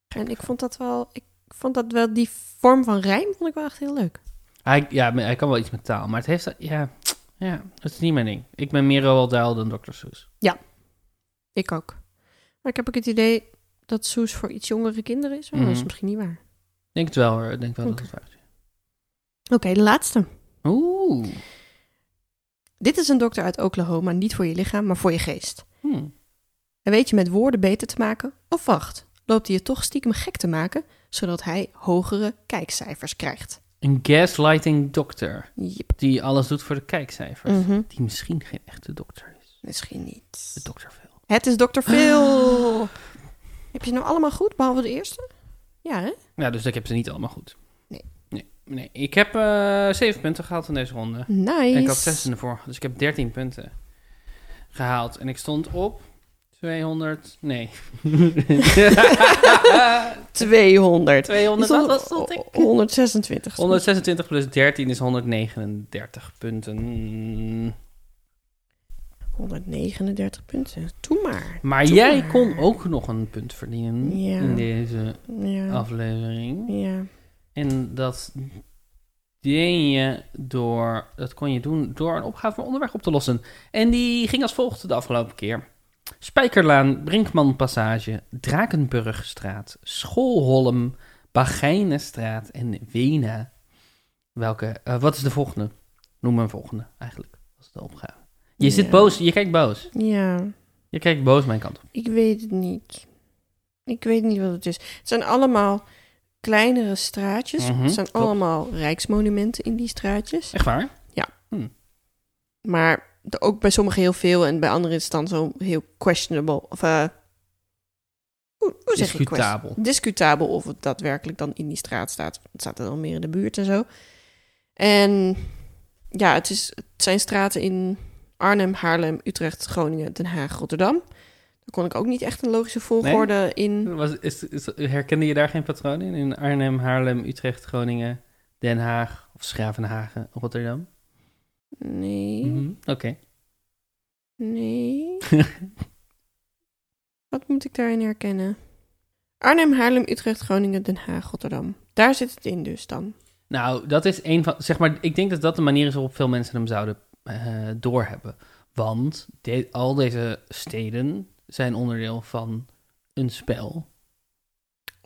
Speaker 2: En ik vond dat wel, ik vond dat wel, die vorm van rijm vond ik wel echt heel leuk.
Speaker 1: Hij, ja, maar hij kan wel iets met taal, maar het heeft... Ja, ja, dat is niet mijn ding. Ik ben meer Roald Dahl dan Dr. Seuss.
Speaker 2: Ik ook. Maar ik heb ook het idee dat Soes voor iets jongere kinderen is, maar dat is
Speaker 1: Mhm.
Speaker 2: misschien niet waar.
Speaker 1: Ik Denk het wel hoor, ik denk wel dat het waar is.
Speaker 2: Oké, de laatste.
Speaker 1: Oeh.
Speaker 2: Dit is een dokter uit Oklahoma, niet voor je lichaam, maar voor je geest.
Speaker 1: Hmm.
Speaker 2: Hij weet je met woorden beter te maken, of wacht, loopt hij je toch stiekem gek te maken, zodat hij hogere kijkcijfers krijgt.
Speaker 1: Een gaslighting dokter
Speaker 2: Jep.
Speaker 1: die alles doet voor de kijkcijfers.
Speaker 2: Mhm.
Speaker 1: Die misschien geen echte dokter is.
Speaker 2: Misschien niet.
Speaker 1: De dokter veel.
Speaker 2: Het is dokter
Speaker 1: Ah.
Speaker 2: Phil. Heb je ze nou allemaal goed, behalve de eerste? Ja, hè?
Speaker 1: Ja, dus ik heb ze niet allemaal goed.
Speaker 2: Nee.
Speaker 1: Nee, nee. ik heb eh zeven punten gehaald in deze ronde.
Speaker 2: Nice.
Speaker 1: En ik had zes in de vorige, dus ik heb 13 punten gehaald. En ik stond op 200. Nee.
Speaker 2: 200.
Speaker 1: 200. Wat was dat? Ik? 126
Speaker 2: 126.
Speaker 1: oh, plus 13 is 139 punten.
Speaker 2: 139 punten. Doe maar.
Speaker 1: Maar
Speaker 2: Doe
Speaker 1: jij
Speaker 2: maar.
Speaker 1: kon ook nog een punt verdienen
Speaker 2: Ja.
Speaker 1: in deze
Speaker 2: Ja.
Speaker 1: Oh. aflevering.
Speaker 2: Ja.
Speaker 1: En dat deed je door, dat kon je doen door een opgave voor onderweg op te lossen. En die ging als volgt de afgelopen keer. Spijkerlaan, Brinkmanpassage, Drakenburgstraat, Schoolholm, Bagijnenstraat en Wena. Welke, eh, wat is de volgende? Noem een volgende, eigenlijk. Dat is de opgave. Je
Speaker 2: Ja.
Speaker 1: zit boos, je kijkt boos.
Speaker 2: Ja.
Speaker 1: Je kijkt boos mijn kant op.
Speaker 2: Ik weet het niet. Ik weet niet wat het is. Het zijn allemaal kleinere straatjes.
Speaker 1: Mhm,
Speaker 2: het zijn
Speaker 1: klopt.
Speaker 2: allemaal rijksmonumenten in die straatjes.
Speaker 1: Echt waar?
Speaker 2: Maar de- ook bij sommigen heel veel en bij anderen is het dan zo heel questionable. Of eh, hoe, hoe zeg je quest-
Speaker 1: Discutabel.
Speaker 2: discutabel of het daadwerkelijk dan in die straat staat. Het staat er dan meer in de buurt en zo. En ja, het, is, het zijn straten in Arnhem, Haarlem, Utrecht, Groningen, Den Haag, Rotterdam. Daar kon ik ook niet echt een logische volgorde in.
Speaker 1: Was, is, is, herkende je daar geen patroon in? In Arnhem, Haarlem, Utrecht, Groningen, Den Haag of Schravenhagen, Rotterdam?
Speaker 2: Nee,
Speaker 1: Mhm, Oké.
Speaker 2: nee. Wat moet ik daarin herkennen? Arnhem, Haarlem, Utrecht, Groningen, Den Haag, Rotterdam. Daar zit het in dus dan.
Speaker 1: Nou, dat is een van... Zeg maar, ik denk dat dat de manier is waarop veel mensen hem zouden eh, doorhebben. Want de- al deze steden zijn onderdeel van een spel.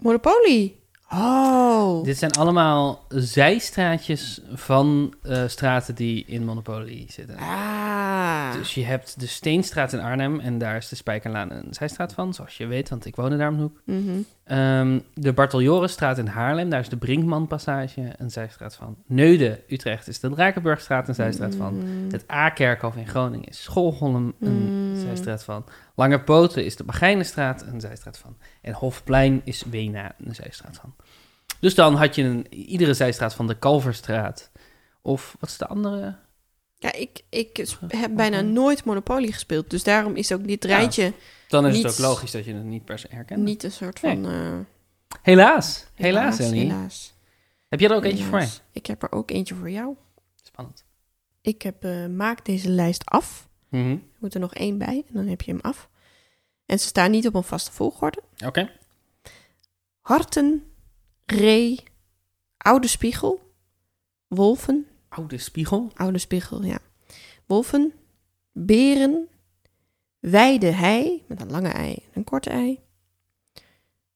Speaker 2: Monopoly. Oh.
Speaker 1: Dit zijn allemaal zijstraatjes van eh, straten die in Monopoly zitten.
Speaker 2: Ah.
Speaker 1: Dus je hebt de Steenstraat in Arnhem en daar is de Spijkerlaan een zijstraat van, zoals je weet, want ik woon in de hoek.
Speaker 2: Mhm.
Speaker 1: Ehm, de Barteljorenstraat in Haarlem, daar is de Brinkmanpassage een zijstraat van. Neuden, Utrecht, is de Drakenburgstraat een zijstraat van.
Speaker 2: Mhm.
Speaker 1: Het A-kerkhof in Groningen is Schoolholm een
Speaker 2: Mm.
Speaker 1: zijstraat van. Lange Poten is de Bagijnenstraat een zijstraat van. En Hofplein is Wena een zijstraat van. Dus dan had je een, iedere zijstraat van de Kalverstraat. Of wat is de andere?
Speaker 2: Ja, ik, ik sp- heb bijna nooit Monopoly gespeeld. Dus daarom is ook dit
Speaker 1: Ja,
Speaker 2: rijtje
Speaker 1: Dan is
Speaker 2: Niets.
Speaker 1: het ook logisch dat je het niet per se herkent.
Speaker 2: niet een soort van... eh,
Speaker 1: Helaas, helaas, Ellie.
Speaker 2: Helaas.
Speaker 1: Heb jij er ook eentje voor mij?
Speaker 2: Helaas. Ik heb er ook eentje voor jou.
Speaker 1: Spannend.
Speaker 2: Ik heb eh, maak deze lijst af.
Speaker 1: Mhm.
Speaker 2: Er moet er nog één bij en dan heb je hem af. En ze staan niet op een vaste volgorde.
Speaker 1: Oké.
Speaker 2: Harten, Ree, Oude Spiegel, Wolven,
Speaker 1: Oude spiegel.
Speaker 2: Oude Spiegel, ja. Wolven, Beren, Weide Hei, met een lange ei en een korte ei.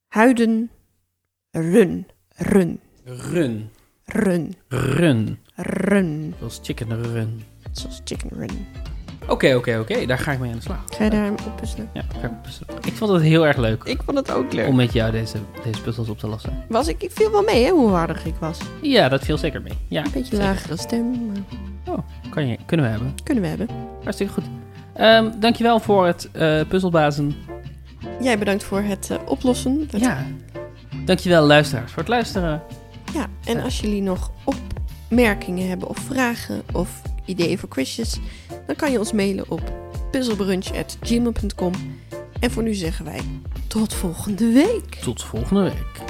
Speaker 2: Huiden, Run, Run,
Speaker 1: Run.
Speaker 2: Run,
Speaker 1: Run.
Speaker 2: Run.
Speaker 1: Zoals chicken run.
Speaker 2: Zoals chicken run.
Speaker 1: Oké, oké, oké. Daar ga ik mee aan de slag.
Speaker 2: Ga je daar hem op puzzelen?
Speaker 1: Ja, ga ik best- ik vond het heel erg leuk
Speaker 2: Ik vond het ook
Speaker 1: om
Speaker 2: leuk.
Speaker 1: met jou deze, deze puzzels op te lossen.
Speaker 2: Was ik, ik viel wel mee, hè, hoe aardig ik was. Een
Speaker 1: Ja, dat viel zeker mee. Ja,
Speaker 2: beetje
Speaker 1: zeker.
Speaker 2: lagere stem, maar
Speaker 1: Kan je, kunnen we hebben.
Speaker 2: kunnen we hebben.
Speaker 1: Hartstikke goed. Ehm, dankjewel voor het eh, puzzelbazen.
Speaker 2: Jij bedankt voor het eh, oplossen. Het-
Speaker 1: Ja. Dankjewel luisteraars voor het luisteren.
Speaker 2: Ja, en als jullie nog opmerkingen hebben of vragen of ideeën voor quizjes, dan kan je ons mailen op puzzelbrunch.gmail.com. En voor nu zeggen wij tot volgende week.
Speaker 1: Tot volgende week.